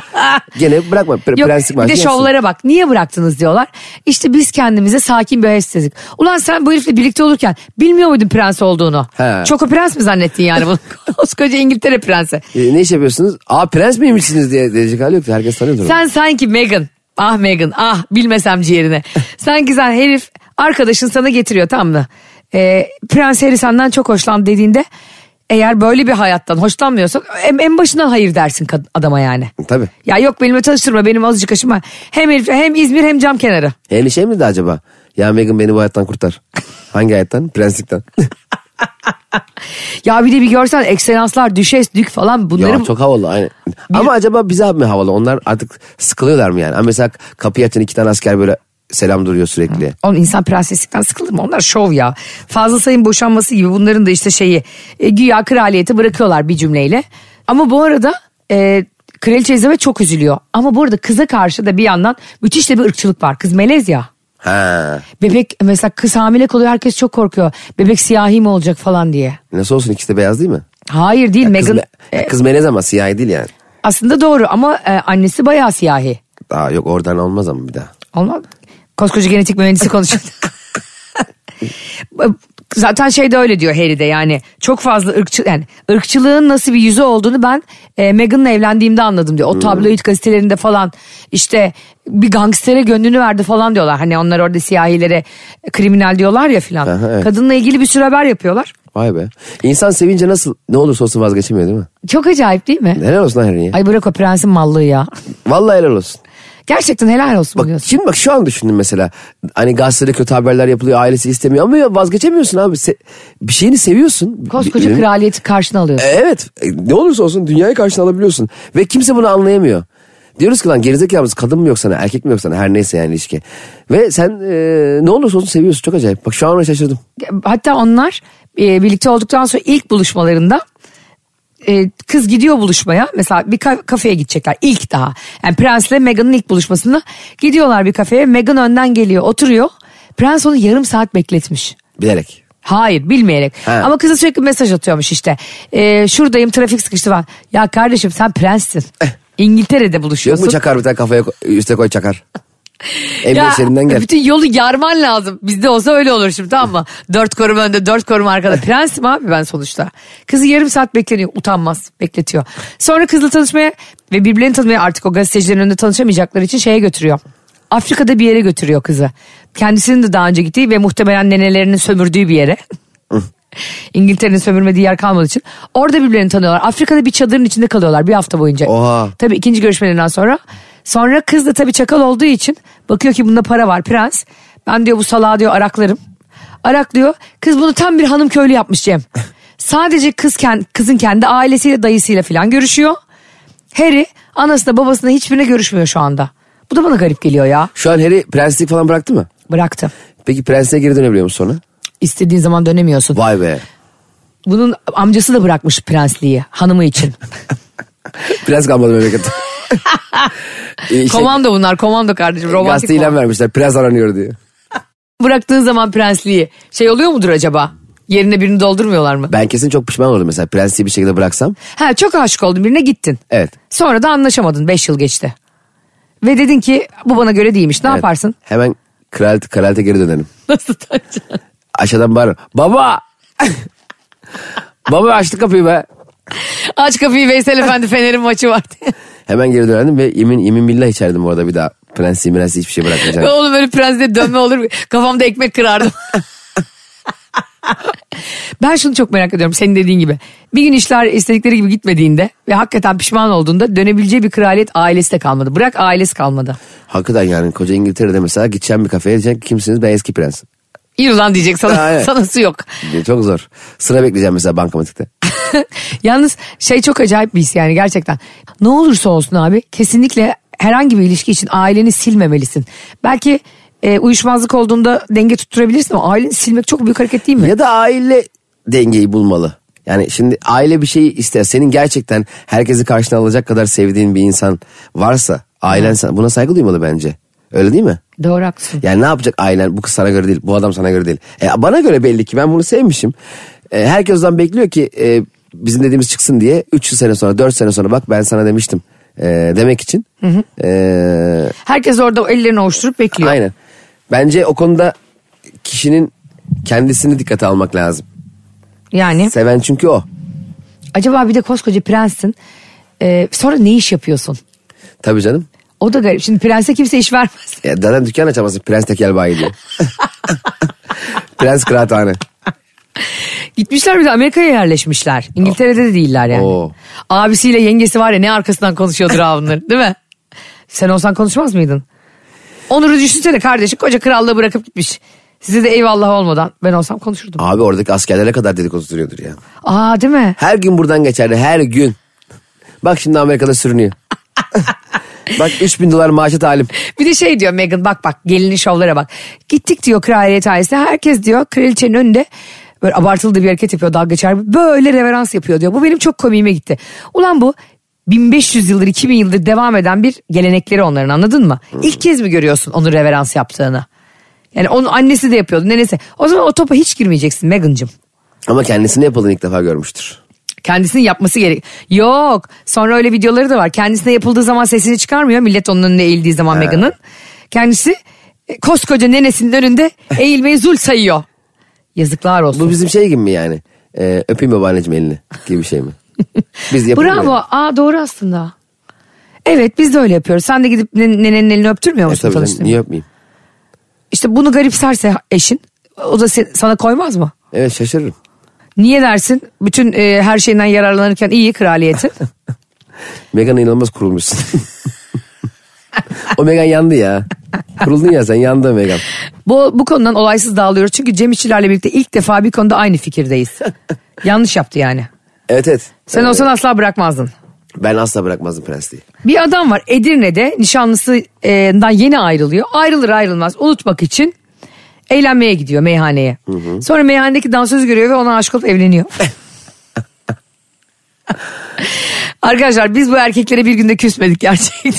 S4: Gene bırakma. Pre-
S3: Yok
S4: prenslik
S3: bir de
S4: maaşı yersin.
S3: şovlara bak. Niye bıraktınız diyorlar. İşte biz kendimize sakin bir ev istedik. Ulan sen bu herifle birlikte olurken bilmiyor muydun prens olduğunu?
S4: He.
S3: Çok o prens mi zannettin yani bunu? Koskoca İngiltere prensi.
S4: Ee, ne iş yapıyorsunuz? Aa prens miymişsiniz diye diyecek hali yoktu. Herkes tanıyordur. onu.
S3: Sen sanki Megan. Ah Megan ah bilmesem ciğerine. sanki sen herif arkadaşın sana getiriyor tamam mı? Ee, Prens Harry senden çok hoşlandı dediğinde eğer böyle bir hayattan hoşlanmıyorsan en, en başından hayır dersin kad- adama yani.
S4: Tabii.
S3: Ya yok benimle çalıştırma benim azıcık aşıma. Hem herif, hem İzmir hem cam kenarı.
S4: Yani şey miydi acaba? Ya Megan beni bu hayattan kurtar. Hangi hayattan? Prenslikten.
S3: Ya bir de bir görsen ekselanslar düşes dük falan bunları
S4: ya çok havalı aynı. Ama acaba bize mi havalı? Onlar artık sıkılıyorlar mı yani? Ama mesela kapıyı açan iki tane asker böyle selam duruyor sürekli.
S3: On insan prenseslikten sıkılır mı? Onlar şov ya. Fazla sayın boşanması gibi bunların da işte şeyi e, güya kraliyeti bırakıyorlar bir cümleyle. Ama bu arada e, kraliçe Elizabeth çok üzülüyor. Ama bu arada kıza karşı da bir yandan müthiş de bir ırkçılık var. Kız melez ya.
S4: Ha.
S3: Bebek mesela kız hamile kalıyor herkes çok korkuyor. Bebek siyahi mi olacak falan diye.
S4: Nasıl olsun ikisi de beyaz değil mi?
S3: Hayır değil
S4: Kız,
S3: Meghan e-
S4: me- kız melez ama siyahi değil yani.
S3: aslında doğru ama e, annesi bayağı siyahi.
S4: Aa yok oradan olmaz ama bir daha.
S3: Olmaz. Koskoca genetik mühendisi konuşuyor. Zaten şey de öyle diyor Harry de yani çok fazla ırkçı yani ırkçılığın nasıl bir yüzü olduğunu ben e, Meghan'la evlendiğimde anladım
S4: Hmm.
S3: diyor. O tabloid gazetelerinde falan işte bir gangstere gönlünü verdi falan diyorlar. Hani onlar orada siyahilere kriminal diyorlar ya filan.
S4: Aha, evet.
S3: Kadınla ilgili bir sürü haber yapıyorlar.
S4: Vay be. İnsan sevince nasıl ne olursa olsun vazgeçemiyor değil mi?
S3: Çok acayip değil mi?
S4: Helal olsun lan Henry'ye.
S3: Ay bırak o prensin mallığı ya.
S4: Vallahi helal olsun.
S3: Gerçekten helal olsun
S4: Bak
S3: diyorsun.
S4: şimdi bak şu an düşündüm mesela. Hani gazetede kötü haberler yapılıyor ailesi istemiyor ama ya vazgeçemiyorsun abi. Se- bir şeyini seviyorsun.
S3: Koskoca
S4: Bir-
S3: kraliyeti karşına alıyorsun.
S4: Evet E, ne olursa olsun dünyayı karşına alabiliyorsun. Ve kimse bunu anlayamıyor. Diyoruz ki lan gerizekalı mısın? kadın mı yok sana erkek mi yok sana her neyse yani ilişki. Ve sen e, ne olursa olsun seviyorsun çok acayip. Bak şu an ona şaşırdım.
S3: hatta onlar e, birlikte olduktan sonra ilk buluşmalarında e, kız gidiyor buluşmaya mesela bir ka- kafeye gidecekler ilk daha yani prensle Meghan'ın ilk buluşmasında gidiyorlar bir kafeye Meghan önden geliyor oturuyor prens onu yarım saat bekletmiş.
S4: Bilerek.
S3: Hayır bilmeyerek
S4: He.
S3: ama kıza sürekli mesaj atıyormuş işte E, şuradayım trafik sıkıştı falan ya kardeşim sen prenssin İngiltere'de
S4: Yok
S3: buluşuyorsun.
S4: mu çakar bir tane kafaya ko- üste koy çakar.
S3: Ya,
S4: Emniyet şeridinden gel.
S3: Bütün yolu yarman lazım. Bizde olsa öyle olur şimdi tamam mı? dört korum önde dört korum arkada. Prensim abi ben sonuçta. Kızı yarım saat bekleniyor. Utanmaz bekletiyor. Sonra kızla tanışmaya ve birbirlerini tanımaya artık o gazetecilerin önünde tanışamayacakları için şeye götürüyor. Afrika'da bir yere götürüyor kızı. Kendisinin de daha önce gittiği ve muhtemelen nenelerinin sömürdüğü bir yere. İngiltere'nin sömürmediği yer kalmadığı için. Orada birbirlerini tanıyorlar. Afrika'da bir çadırın içinde kalıyorlar bir hafta boyunca.
S4: Oha.
S3: Tabii ikinci görüşmelerinden sonra. Sonra kız da tabii çakal olduğu için bakıyor ki bunda para var prens. Ben diyor bu salağı diyor araklarım. Araklıyor. Kız bunu tam bir hanım köylü yapmış Cem. Sadece kız ken- kızın kendi ailesiyle dayısıyla falan görüşüyor. Harry anasına babasına hiçbirine görüşmüyor şu anda. Bu da bana garip geliyor ya.
S4: Şu an Harry prenslik falan bıraktı mı?
S3: Bıraktı.
S4: Peki prensliğe geri dönebiliyor musun sonra?
S3: İstediğin zaman dönemiyorsun.
S4: Vay be.
S3: Bunun amcası da bırakmış prensliği hanımı için.
S4: Prens kalmadı memlekette. ee, şey,
S3: komando bunlar komando kardeşim. Romantik
S4: gazete ilan
S3: komando.
S4: vermişler. Prens aranıyor diye.
S3: Bıraktığın zaman prensliği şey oluyor mudur acaba? Yerine birini doldurmuyorlar mı?
S4: Ben kesin çok pişman olurum mesela. Prensliği bir şekilde bıraksam.
S3: Ha çok aşık oldun birine gittin.
S4: Evet.
S3: Sonra da anlaşamadın 5 yıl geçti. Ve dedin ki bu bana göre değilmiş ne
S4: evet.
S3: yaparsın?
S4: Hemen kraliyet, kraliyete geri dönerim.
S3: Nasıl takacaksın?
S4: Aşağıdan bağırırım. Baba! Baba açtı kapıyı be.
S3: Aç kapıyı Veysel Efendi Fener'in maçı var diye.
S4: Hemen geri dönerdim ve yemin, yemin billah içerdim bu arada bir daha. Prensi, prensi hiçbir şey
S3: Ve
S4: bırakmayacağım.
S3: oğlum böyle prensle dönme olur mu? Kafamda ekmek kırardım. ben şunu çok merak ediyorum senin dediğin gibi. Bir gün işler istedikleri gibi gitmediğinde ve hakikaten pişman olduğunda dönebileceği bir kraliyet ailesi de kalmadı. Bırak ailesi kalmadı.
S4: Hakikaten yani koca İngiltere'de mesela gideceğim bir kafeye diyecek ki, kimsiniz ben eski prensim.
S3: İyi ulan diyecek sana,
S4: Ha, evet.
S3: sanası yok.
S4: Ya Çok zor. Sıra bekleyeceğim mesela bankamatikte.
S3: Yalnız şey çok acayip bir his yani gerçekten. Ne olursa olsun abi kesinlikle herhangi bir ilişki için aileni silmemelisin. Belki e, uyuşmazlık olduğunda denge tutturabilirsin ama aileni silmek çok büyük hareket değil mi?
S4: Ya da aile dengeyi bulmalı. Yani şimdi aile bir şeyi ister. Senin gerçekten herkesi karşına alacak kadar sevdiğin bir insan varsa ailen sana- buna saygı duymalı bence. Öyle değil mi?
S3: Doğru haklısın.
S4: Yani ne yapacak ailen bu kız sana göre değil bu adam sana göre değil. E, bana göre belli ki ben bunu sevmişim. E, herkes o zaman bekliyor ki e, bizim dediğimiz çıksın diye 3 sene sonra 4 sene sonra bak ben sana demiştim e, demek için. E,
S3: Herkes orada ellerini ovuşturup bekliyor.
S4: Aynen. Bence o konuda kişinin kendisini dikkate almak lazım.
S3: Yani
S4: Seven çünkü o.
S3: acaba bir de koskoca prenssin. Ee, sonra ne iş yapıyorsun?
S4: Tabii canım.
S3: O da garip. Şimdi prense kimse iş vermez.
S4: Ya zaten dükkan açamazsın. Prens tekel bayi diyor. Prens kıraathane.
S3: Gitmişler bir de Amerika'ya yerleşmişler. İngiltere'de de değiller yani.
S4: Oo.
S3: Abisiyle yengesi var ya ne arkasından konuşuyordur ha bunların değil mi? Sen olsan konuşmaz mıydın? Onur'u düşünsene kardeşi koca krallığı bırakıp gitmiş. Size de eyvallah olmadan ben olsam konuşurdum.
S4: Abi oradaki askerlere kadar dedikodu duruyordur ya.
S3: Aa değil mi?
S4: Her gün buradan geçerdi. Her gün. Bak şimdi Amerika'da sürünüyor. Bak 3000 dolar maaşa talip.
S3: Bir de şey diyor Meghan bak bak gelinin şovlara bak. Gittik diyor kraliyet ailesi. Herkes diyor kraliçenin önünde böyle abartılı da bir hareket yapıyor dalga geçer. Böyle reverans yapıyor diyor. Bu benim çok komiğime gitti. Ulan bu 1500 yıldır 2000 yıldır devam eden bir gelenekleri onların anladın mı? İlk kez mi görüyorsun onu reverans yaptığını? Yani onun annesi de yapıyordu nenesi. O zaman o topa hiç girmeyeceksin Meghan'cığım.
S4: Ama kendisini yapıldığını ilk defa görmüştür.
S3: Kendisinin yapması gerek. Yok. Sonra öyle videoları da var. Kendisine yapıldığı zaman sesini çıkarmıyor. Millet onun önüne eğildiği zaman Meghan'ın. Kendisi e, koskoca nenesinin önünde eğilmeyi zul sayıyor. Yazıklar olsun.
S4: Bu bizim şey gibi mi yani? Ee, öpeyim babaanneciğim elini gibi bir şey mi? Biz yapamıyoruz.
S3: Bravo. Aa doğru aslında. Evet biz de öyle yapıyoruz. Sen de gidip nen- nenenin elini öptürmüyor
S4: E,
S3: musun
S4: tabii canım,
S3: tanıştığın?
S4: niye öpmeyeyim?
S3: İşte bunu garipserse eşin o da se- sana koymaz mı?
S4: Evet şaşırırım.
S3: Niye dersin? Bütün e, her şeyden yararlanırken iyi kraliyeti.
S4: Megan inanılmaz kurulmuşsun. o Megan yandı ya. Kuruldun ya sen yandı Megan.
S3: Bu, bu konudan olaysız dağılıyoruz. Çünkü Cem İşçilerle birlikte ilk defa bir konuda aynı fikirdeyiz. Yanlış yaptı yani.
S4: Evet evet.
S3: Sen
S4: Ee,
S3: olsan asla bırakmazdın.
S4: Ben asla bırakmazdım prensliği.
S3: Bir adam var Edirne'de nişanlısından yeni ayrılıyor. Ayrılır ayrılmaz unutmak için eğlenmeye gidiyor meyhaneye. Sonra meyhanedeki dansözü görüyor ve ona aşık olup evleniyor. Arkadaşlar biz bu erkeklere bir günde küsmedik gerçekten.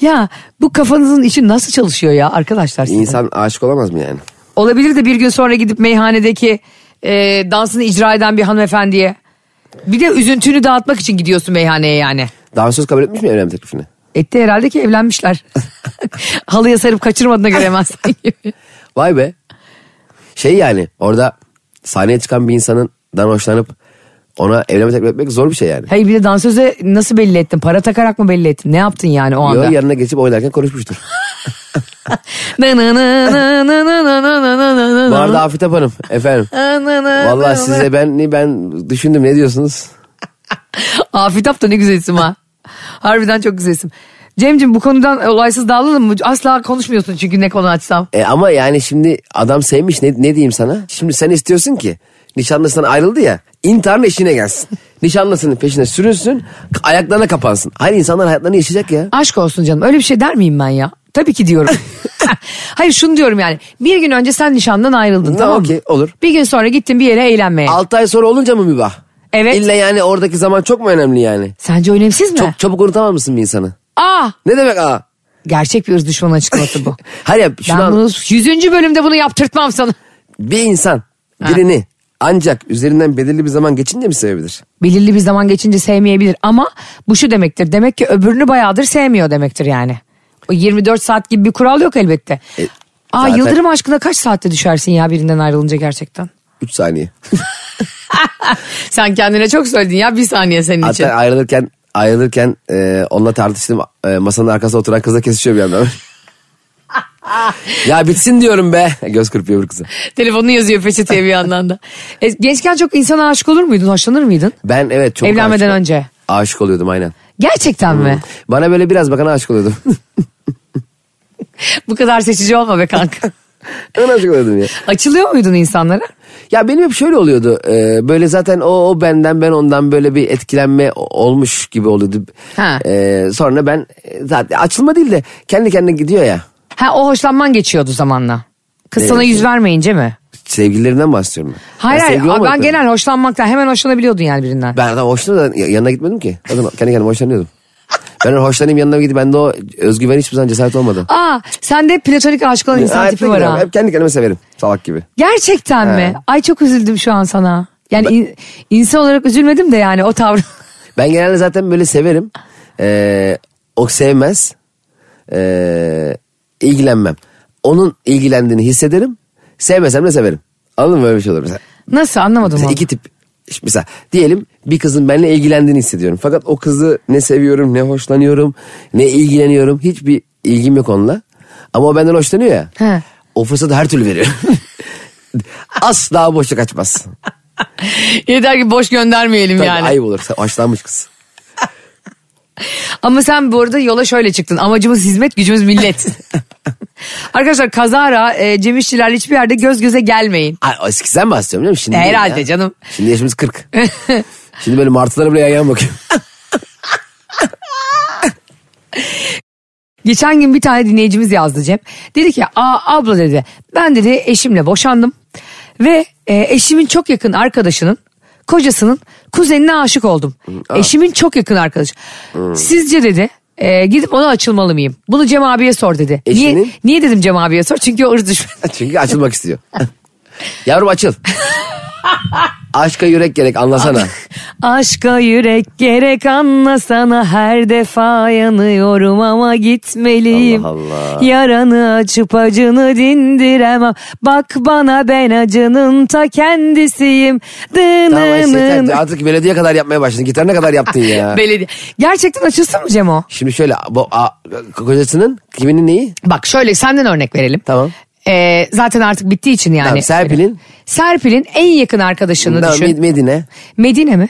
S3: ya bu kafanızın içi nasıl çalışıyor ya arkadaşlar? sizin?
S4: İnsan aşık olamaz mı yani?
S3: Olabilir de bir gün sonra gidip meyhanedeki e, dansını icra eden bir hanımefendiye. Bir de üzüntünü dağıtmak için gidiyorsun meyhaneye yani.
S4: Dansöz kabul etmiş mi evlenme teklifini?
S3: Etti herhalde ki evlenmişler. Halıya sarıp kaçırmadığına göre hemen sanki.
S4: Vay be. Şey yani orada sahneye çıkan bir insanından hoşlanıp ona evlenme teklif etmek zor bir şey yani.
S3: Hayır bir de dansöze nasıl belli ettin? Para takarak mı belli ettin? Ne yaptın yani o anda?
S4: Yo, yanına geçip oynarken konuşmuştur. Bu arada Afet Hanım efendim. Vallahi size ben ben düşündüm ne diyorsunuz?
S3: Afitap da ne güzel isim ha. Harbiden çok güzel isim. Cemcim bu konudan e, olaysız dağılalım mı? Asla konuşmuyorsun çünkü ne konu açsam.
S4: E ama yani şimdi adam sevmiş ne, ne diyeyim sana? Şimdi sen istiyorsun ki nişanlısından ayrıldı ya intiharın eşiğine gelsin. Nişanlısının peşine sürünsün ayaklarına kapansın. Hayır insanlar hayatlarını yaşayacak ya.
S3: Aşk olsun canım öyle bir şey der miyim ben ya? Tabii ki diyorum. Hayır şunu diyorum yani. Bir gün önce sen nişandan ayrıldın
S4: Ne,
S3: tamam mı?
S4: okey, olur.
S3: Bir gün sonra gittin bir yere eğlenmeye.
S4: 6 ay sonra olunca mı mübah?
S3: Evet.
S4: İlla yani oradaki zaman çok mu önemli yani?
S3: Sence önemsiz mi?
S4: Çok çabuk unutamaz mısın bir insanı?
S3: Aa!
S4: Ne demek aa?
S3: Gerçek bir ırz düşmanı açıklaması bu.
S4: Hayır ya, şunu
S3: ben
S4: an-
S3: bunu 100. bölümde bunu yaptırtmam sana.
S4: bir insan birini ancak üzerinden belirli bir zaman geçince mi sevebilir?
S3: Belirli bir zaman geçince sevmeyebilir ama bu şu demektir. Demek ki öbürünü bayağıdır sevmiyor demektir yani. O 24 saat gibi bir kural yok elbette.
S4: E,
S3: Aa
S4: zaten-
S3: Yıldırım aşkına kaç saatte düşersin ya birinden ayrılınca gerçekten?
S4: 3 saniye.
S3: Sen kendine çok söyledin ya bir saniye senin için.
S4: Hatta ayrılırken ayrılırken e, onunla tartıştım. E, masanın arkasında oturan kızla kesişiyor bir yandan. ya bitsin diyorum be. Göz kırpıyor bir kızı.
S3: Telefonunu yazıyor peçeteye bir yandan da. E, gençken çok insana aşık olur muydun? Hoşlanır mıydın?
S4: Ben evet çok
S3: Evlenmeden
S4: aşık-
S3: önce.
S4: Aşık oluyordum aynen.
S3: Gerçekten mi?
S4: Bana böyle biraz bakana aşık oluyordum.
S3: Bu kadar seçici olma be kanka.
S4: ben aşık oluyordum ya.
S3: Açılıyor muydun insanlara?
S4: Ya benim hep şöyle oluyordu. e, böyle zaten o, o benden ben ondan böyle bir etkilenme o- olmuş gibi oluyordu.
S3: Ha.
S4: E, sonra ben e, zaten açılma değil de kendi kendine gidiyor ya.
S3: Ha o hoşlanman geçiyordu zamanla. Kız sana
S4: Evet.
S3: yüz vermeyince mi?
S4: Sevgililerinden bahsediyorum ben.
S3: Hayır
S4: ben
S3: hayır
S4: sevgili
S3: ben
S4: olmadıklarım.
S3: genel hoşlanmaktan hemen hoşlanabiliyordun yani birinden.
S4: Ben adam hoşlanıyordum da yanına gitmedim ki. O zaman kendi kendime hoşlanıyordum. Ben hoşlanayım yanına gidip bende o özgüven hiçbir zaman cesaret olmadı.
S3: Aa sende platonik aşk olan insan
S4: Hep
S3: tipi
S4: de
S3: var
S4: giderim.
S3: ha.
S4: Hep kendi kendime severim salak gibi.
S3: Gerçekten mi? Ay çok üzüldüm şu an sana. Yani in- insan olarak üzülmedim de yani o tavrı.
S4: Ben genelde zaten böyle severim. Ee, o sevmez. Ee, ilgilenmem. Onun ilgilendiğini hissederim. Sevmesem de severim. Anladın mı böyle bir şey olur mesela.
S3: Nasıl anlamadım
S4: Mesela
S3: onu.
S4: iki tip. Şimdi Mesela diyelim bir kızın benimle ilgilendiğini hissediyorum. Fakat o kızı ne seviyorum, ne hoşlanıyorum, ne ilgileniyorum. Hiçbir ilgim yok onunla. Ama o benden hoşlanıyor ya.
S3: He.
S4: O fırsatı her türlü veriyor. Asla boşluk açmaz.
S3: Yeter ki boş göndermeyelim
S4: Tabii
S3: yani.
S4: Ayıp olur. Hoşlanmış kız.
S3: Ama sen bu arada yola şöyle çıktın. Amacımız hizmet, gücümüz millet. Arkadaşlar kazara e, Cem İşçilerle hiçbir yerde göz göze gelmeyin.
S4: Ay, o eskiden bahsediyorum değil mi? Şimdi değil
S3: Herhalde
S4: ya.
S3: canım.
S4: Şimdi yaşımız 40. Şimdi böyle martılara bile yan yana bakıyorum.
S3: Geçen gün bir tane dinleyicimiz yazdı Cem. Dedi ki Aa, abla dedi ben dedi eşimle boşandım. Ve e, eşimin çok yakın arkadaşının kocasının kuzenine aşık oldum. Eşimin çok yakın arkadaşı. Sizce dedi e, gidip ona açılmalı mıyım? Bunu Cem abiye sor dedi. Niye,
S4: Eşinin?
S3: niye dedim Cem abiye sor? Çünkü o ırz düşmanı.
S4: Çünkü açılmak istiyor. Yavrum açıl. Aşka yürek gerek anlasana.
S3: Aşka yürek gerek anla sana her defa yanıyorum ama gitmeliyim.
S4: Allah Allah.
S3: Yaranı açıp acını dindiremem. Bak bana ben acının ta kendisiyim. Dınının.
S4: Tamam işte yeter. artık belediye kadar yapmaya başladın. Gitar ne kadar yaptın ya?
S3: Belediye. Gerçekten açılsın mı Cemo?
S4: Şimdi şöyle bu a, kocasının kiminin neyi?
S3: Bak şöyle senden örnek verelim.
S4: Tamam.
S3: Ee, zaten artık bittiği için yani.
S4: Tamam, Serpil'in?
S3: Serpil'in en yakın arkadaşını
S4: Tamam,
S3: düşün.
S4: Med- Medine.
S3: Medine mi?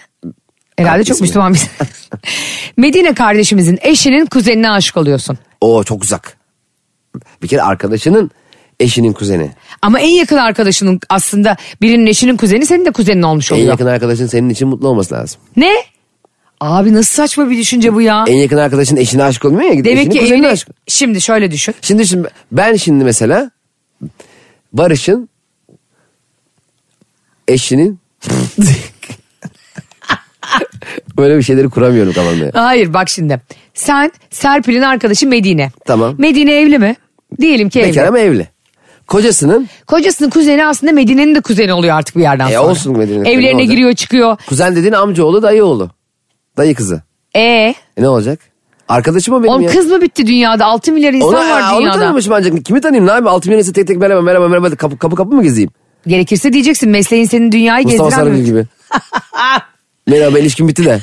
S3: Herhalde
S4: Ha,
S3: çok
S4: ismi.
S3: Müslüman bir. Medine kardeşimizin eşinin kuzenine aşık oluyorsun.
S4: Oo çok uzak. Bir kere arkadaşının eşinin kuzeni.
S3: Ama en yakın arkadaşının aslında birinin eşinin kuzeni senin de kuzenin olmuş
S4: En
S3: oluyor.
S4: yakın arkadaşın senin için mutlu olması lazım.
S3: Ne? Abi nasıl saçma bir düşünce bu ya.
S4: En yakın arkadaşın eşine aşık olmuyor ya.
S3: Demek
S4: eşinin
S3: ki
S4: kuzenine
S3: evine...
S4: aşık.
S3: Şimdi şöyle düşün.
S4: Şimdi şimdi ben şimdi mesela Barış'ın eşinin böyle bir şeyleri kuramıyorum kafamda. ya.
S3: Hayır bak şimdi. Sen Serpil'in arkadaşı Medine.
S4: Tamam.
S3: Medine evli mi? Diyelim ki
S4: Bekar
S3: evli.
S4: ama evli. Kocasının
S3: Kocasının kuzeni aslında Medine'nin de kuzeni oluyor artık bir yerden
S4: E,
S3: sonra.
S4: olsun Medine'nin kuzeni, ne
S3: Evlerine
S4: olacak?
S3: giriyor çıkıyor.
S4: kuzen dediğin amcaoğlu dayıoğlu. Dayı kızı.
S3: E
S4: E ne olacak? Arkadaşım o benim
S3: Oğlum
S4: ya.
S3: kız mı bitti dünyada? 6 milyar insan
S4: Onu,
S3: var
S4: onu
S3: dünyada.
S4: tanımışım ancak. Kimi tanıyayım ne yapayım? Altı milyonesi tek tek merhaba merhaba merhaba de kapı kapı, kapı mı gezeyim?
S3: Gerekirse diyeceksin mesleğin senin dünyayı
S4: Mustafa
S3: gezdiren
S4: Sarıgül
S3: bir-
S4: gibi. merhaba ilişkin bitti de.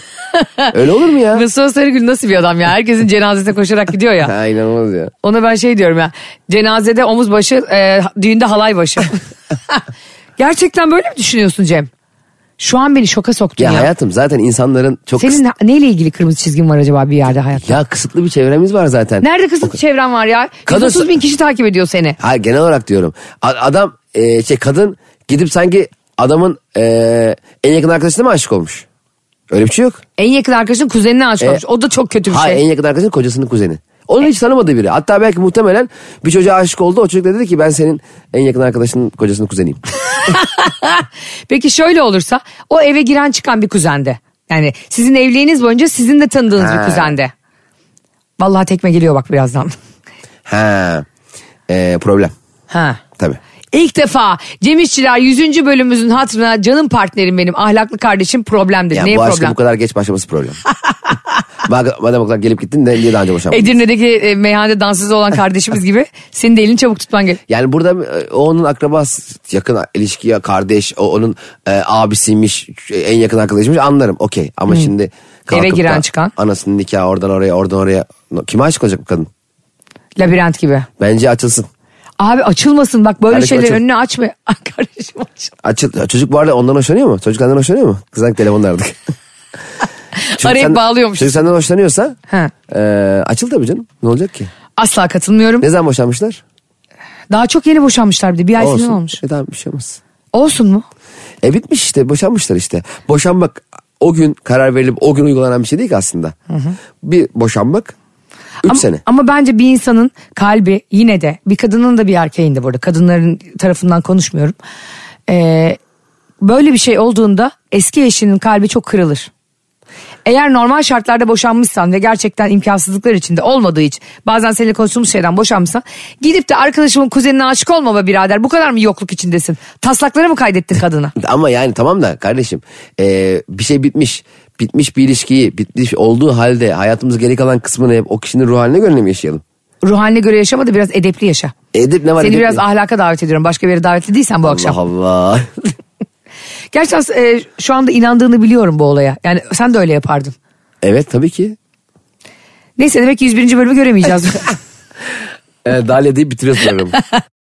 S4: Öyle olur mu ya?
S3: Mustafa Sarıgül nasıl bir adam ya? Herkesin cenazesine koşarak gidiyor ya.
S4: Ha inanılmaz ya.
S3: Ona ben şey diyorum ya. Cenazede omuz başı, e, düğünde halay başı. Gerçekten böyle mi düşünüyorsun Cem? Şu an beni şoka soktun
S4: Ya
S3: ya.
S4: hayatım zaten insanların çok
S3: Senin
S4: kısıt-
S3: ha- neyle ilgili kırmızı çizgin var acaba bir yerde hayat?
S4: ya kısıtlı bir çevremiz var zaten.
S3: Nerede kısıtlı çevren var ya?
S4: Kadın-
S3: 130 bin kişi takip ediyor seni.
S4: Hayır genel olarak diyorum. A- Adam e, şey kadın gidip sanki adamın e, en yakın arkadaşına mı aşık olmuş? Öyle bir şey yok.
S3: En yakın arkadaşın kuzenine aşık olmuş.
S4: E,
S3: O da çok kötü bir
S4: Hayır
S3: şey.
S4: en yakın arkadaşının kocasının kuzeni. Onun hiç tanımadığı biri. Hatta belki muhtemelen bir çocuğa aşık oldu. O çocuk da dedi ki ben senin en yakın arkadaşının kocasının kuzeniyim.
S3: Peki şöyle olursa o eve giren çıkan bir kuzende. Yani sizin evliliğiniz boyunca sizin de tanıdığınız bir
S4: Ha.
S3: kuzende. Vallahi tekme geliyor bak birazdan.
S4: ha. E, problem.
S3: Ha.
S4: Tabii.
S3: İlk defa Cem İşçiler 100. bölümümüzün hatırına canım partnerim benim ahlaklı kardeşim problem dedi.
S4: Ya
S3: Neye
S4: bu aşkın
S3: problem?
S4: bu kadar geç başlaması problem. Bak- Madem o kadar gelip gittin de niye daha önce boşanmadın?
S3: Edirne'deki e, meyhanede dansız olan kardeşimiz gibi senin de elini çabuk tutman gerek.
S4: Yani burada e, o onun akrabası yakın ilişki ya kardeş o onun e, abisiymiş en yakın arkadaşıymış anlarım okey ama şimdi kalkıp
S3: Eve giren
S4: da
S3: çıkan.
S4: anasının nikahı oradan oraya oradan oraya No, kime aşık olacak bu kadın?
S3: Labirent gibi.
S4: Bence açılsın.
S3: Abi açılmasın bak böyle
S4: Kardeşim
S3: şeyler
S4: açıl.
S3: önüne açma. Ay kardeşim açıl.
S4: Açıl, çocuk bu arada ondan hoşlanıyor mu? Çocuk senden hoşlanıyor mu? Kızdan telefonla aradık. Çocuk
S3: Arayıp
S4: sen-
S3: bağlıyormuş.
S4: Çocuk senden hoşlanıyorsa
S3: Ha.
S4: e, açıl tabii canım. Ne olacak ki?
S3: Asla katılmıyorum.
S4: Ne zaman boşanmışlar?
S3: Daha çok yeni boşanmışlar bir de bir ay falan olmuş.
S4: E tamam bir şey olmaz.
S3: Olsun mu?
S4: E bitmiş işte boşanmışlar işte. Boşanmak o gün karar verilip o gün uygulanan bir şey değil ki aslında. Bir boşanmak 3
S3: Ama,
S4: sene.
S3: ama bence bir insanın kalbi yine de bir kadının da bir erkeğin de burada kadınların tarafından konuşmuyorum. Ee, böyle bir şey olduğunda eski eşinin kalbi çok kırılır. Eğer normal şartlarda boşanmışsan ve gerçekten imkansızlıklar içinde olmadığı için bazen seninle konuştuğumuz şeyden boşanmışsan gidip de arkadaşımın kuzenine aşık olma be birader bu kadar mı yokluk içindesin? Taslakları mı kaydettin kadına?
S4: Ama yani tamam da kardeşim e, bir şey bitmiş. Bitmiş bir ilişkiyi bitmiş olduğu halde hayatımız geri kalan kısmını hep o kişinin ruh haline göre mi yaşayalım?
S3: Ruh haline göre yaşamadı biraz edepli yaşa.
S4: Edip ne var?
S3: Seni
S4: edip
S3: biraz
S4: ne?
S3: ahlaka davet ediyorum. Başka bir yere davetli değilsen bu
S4: Allah
S3: akşam.
S4: Allah.
S3: Gerçekten e, şu anda inandığını biliyorum bu olaya. Yani sen de öyle yapardın.
S4: evet tabii ki.
S3: Neyse demek ki 101. bölümü göremeyeceğiz.
S4: E, Dalia deyip bitiriyorsun programı.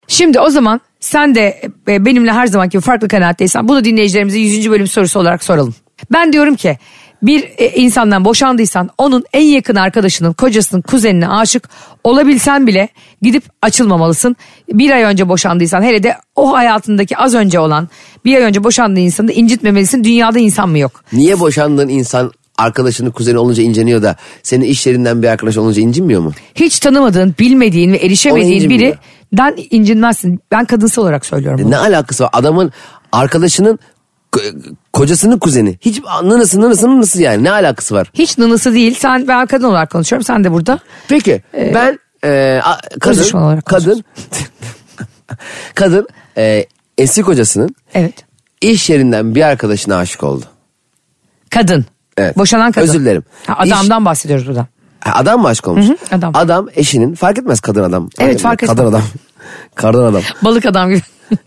S3: Şimdi o zaman sen de e, benimle her zamanki gibi farklı kanaatteysen bunu dinleyicilerimize 100. bölüm sorusu olarak soralım. Ben diyorum ki bir e, insandan boşandıysan onun en yakın arkadaşının, kocasının, kuzenine aşık olabilsen bile gidip açılmamalısın. Bir ay önce boşandıysan hele de o hayatındaki az önce olan bir ay önce boşandığı insanı da incitmemelisin. Dünyada insan mı yok?
S4: Niye boşandığın insan arkadaşının kuzeni olunca inciniyor da senin iş yerinden bir arkadaş olunca incinmiyor mu?
S3: hiç tanımadığın, bilmediğin ve erişemediğin
S4: Onu incinmiyor.
S3: birinden incinmezsin. Ben kadınsı olarak söylüyorum bunu.
S4: Ne alakası var? Adamın arkadaşının ko- kocasının kuzeni. Hiç nınısı nınısı nınısı yani ne alakası var?
S3: Hiç nınısı değil. Sen ben kadın olarak konuşuyorum. Sen de burada.
S4: Peki ben e, a-
S3: düşmanı
S4: kadın
S3: Ee, olarak
S4: kadın kadın e, eski kocasının
S3: Evet.
S4: iş yerinden bir arkadaşına aşık oldu.
S3: Kadın.
S4: Evet.
S3: Boşanan kadın.
S4: Özür dilerim.
S3: Ha, adamdan bahsediyoruz burada.
S4: Ha, Adam mı aşık olmuş?
S3: Hı hı, adam.
S4: eşinin fark etmez kadın adam.
S3: Evet, fark
S4: Kadın
S3: etmez.
S4: adam. Kardan adam.
S3: Balık adam gibi.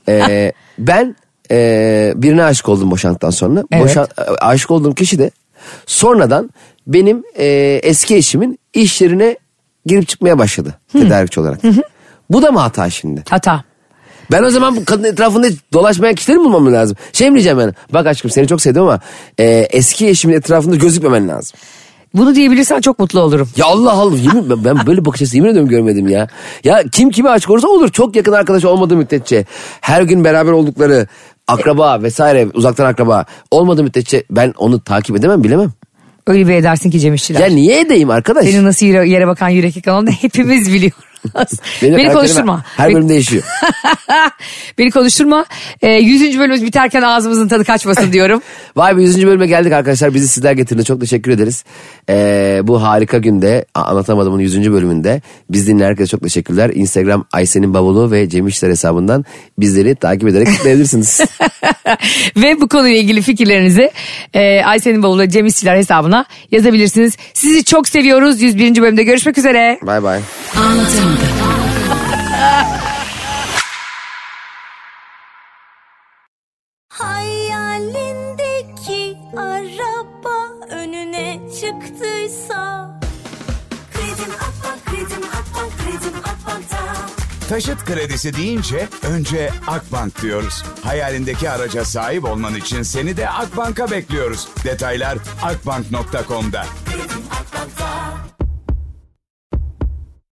S4: Ee, ben e, birine aşık oldum boşandıktan sonra.
S3: Evet.
S4: Boşan, e, aşık olduğum kişi de sonradan benim e, eski eşimin iş yerine girip çıkmaya başladı. Tedarikçi olarak. Bu da mı hata şimdi?
S3: Hata.
S4: Ben o zaman bu kadın etrafında hiç dolaşmayan kişileri mi bulmam lazım? Şey mi diyeceğim yani? Bak aşkım seni çok sevdim ama e, eski eşimin etrafında gözükmemen lazım.
S3: Bunu diyebilirsen çok mutlu olurum.
S4: Ya Allah Allah yemin, ben- ben böyle bakış açısı yemin ediyorum görmedim ya. Ya kim kime aşık olursa olur çok yakın arkadaş olmadığı müddetçe. Her gün beraber oldukları akraba vesaire uzaktan akraba olmadığı müddetçe ben onu takip edemem bilemem.
S3: Öyle bir edersin ki Cem İşçiler.
S4: Ya niye edeyim arkadaş?
S3: Senin nasıl yere, yere bakan yürek yıkan hepimiz biliyoruz.
S4: Benim
S3: Beni
S4: karakterim
S3: konuşturma.
S4: Her bölüm değişiyor.
S3: Beni konuşturma. Ee, 100. bölümümüz biterken ağzımızın tadı kaçmasın diyorum.
S4: Vay be 100. bölüme geldik arkadaşlar. Bizi sizler getirdiniz. Çok teşekkür ederiz. Ee, bu harika günde A- anlatamadığımın 100. bölümünde biz dinleyen herkese çok teşekkürler. Instagram Aysen'in bavulu ve Cem İşler hesabından bizleri takip ederek kutlayabilirsiniz.
S3: Ve bu konuyla ilgili fikirlerinizi e, Aysen'in bavulda Cem İşçiler hesabına yazabilirsiniz. Sizi çok seviyoruz. 101. bölümde görüşmek üzere.
S4: Bay bay.
S1: Anlatamadım.
S5: Hayalindeki araba önüne çıktıysa Kredim Akbank, kredim Akbank, kredim Akbank'ta
S6: Taşıt kredisi deyince önce Akbank diyoruz. Hayalindeki araca sahip olman için seni de Akbank'a bekliyoruz. Detaylar akbank.com'da.
S5: Kredim Akbank'ta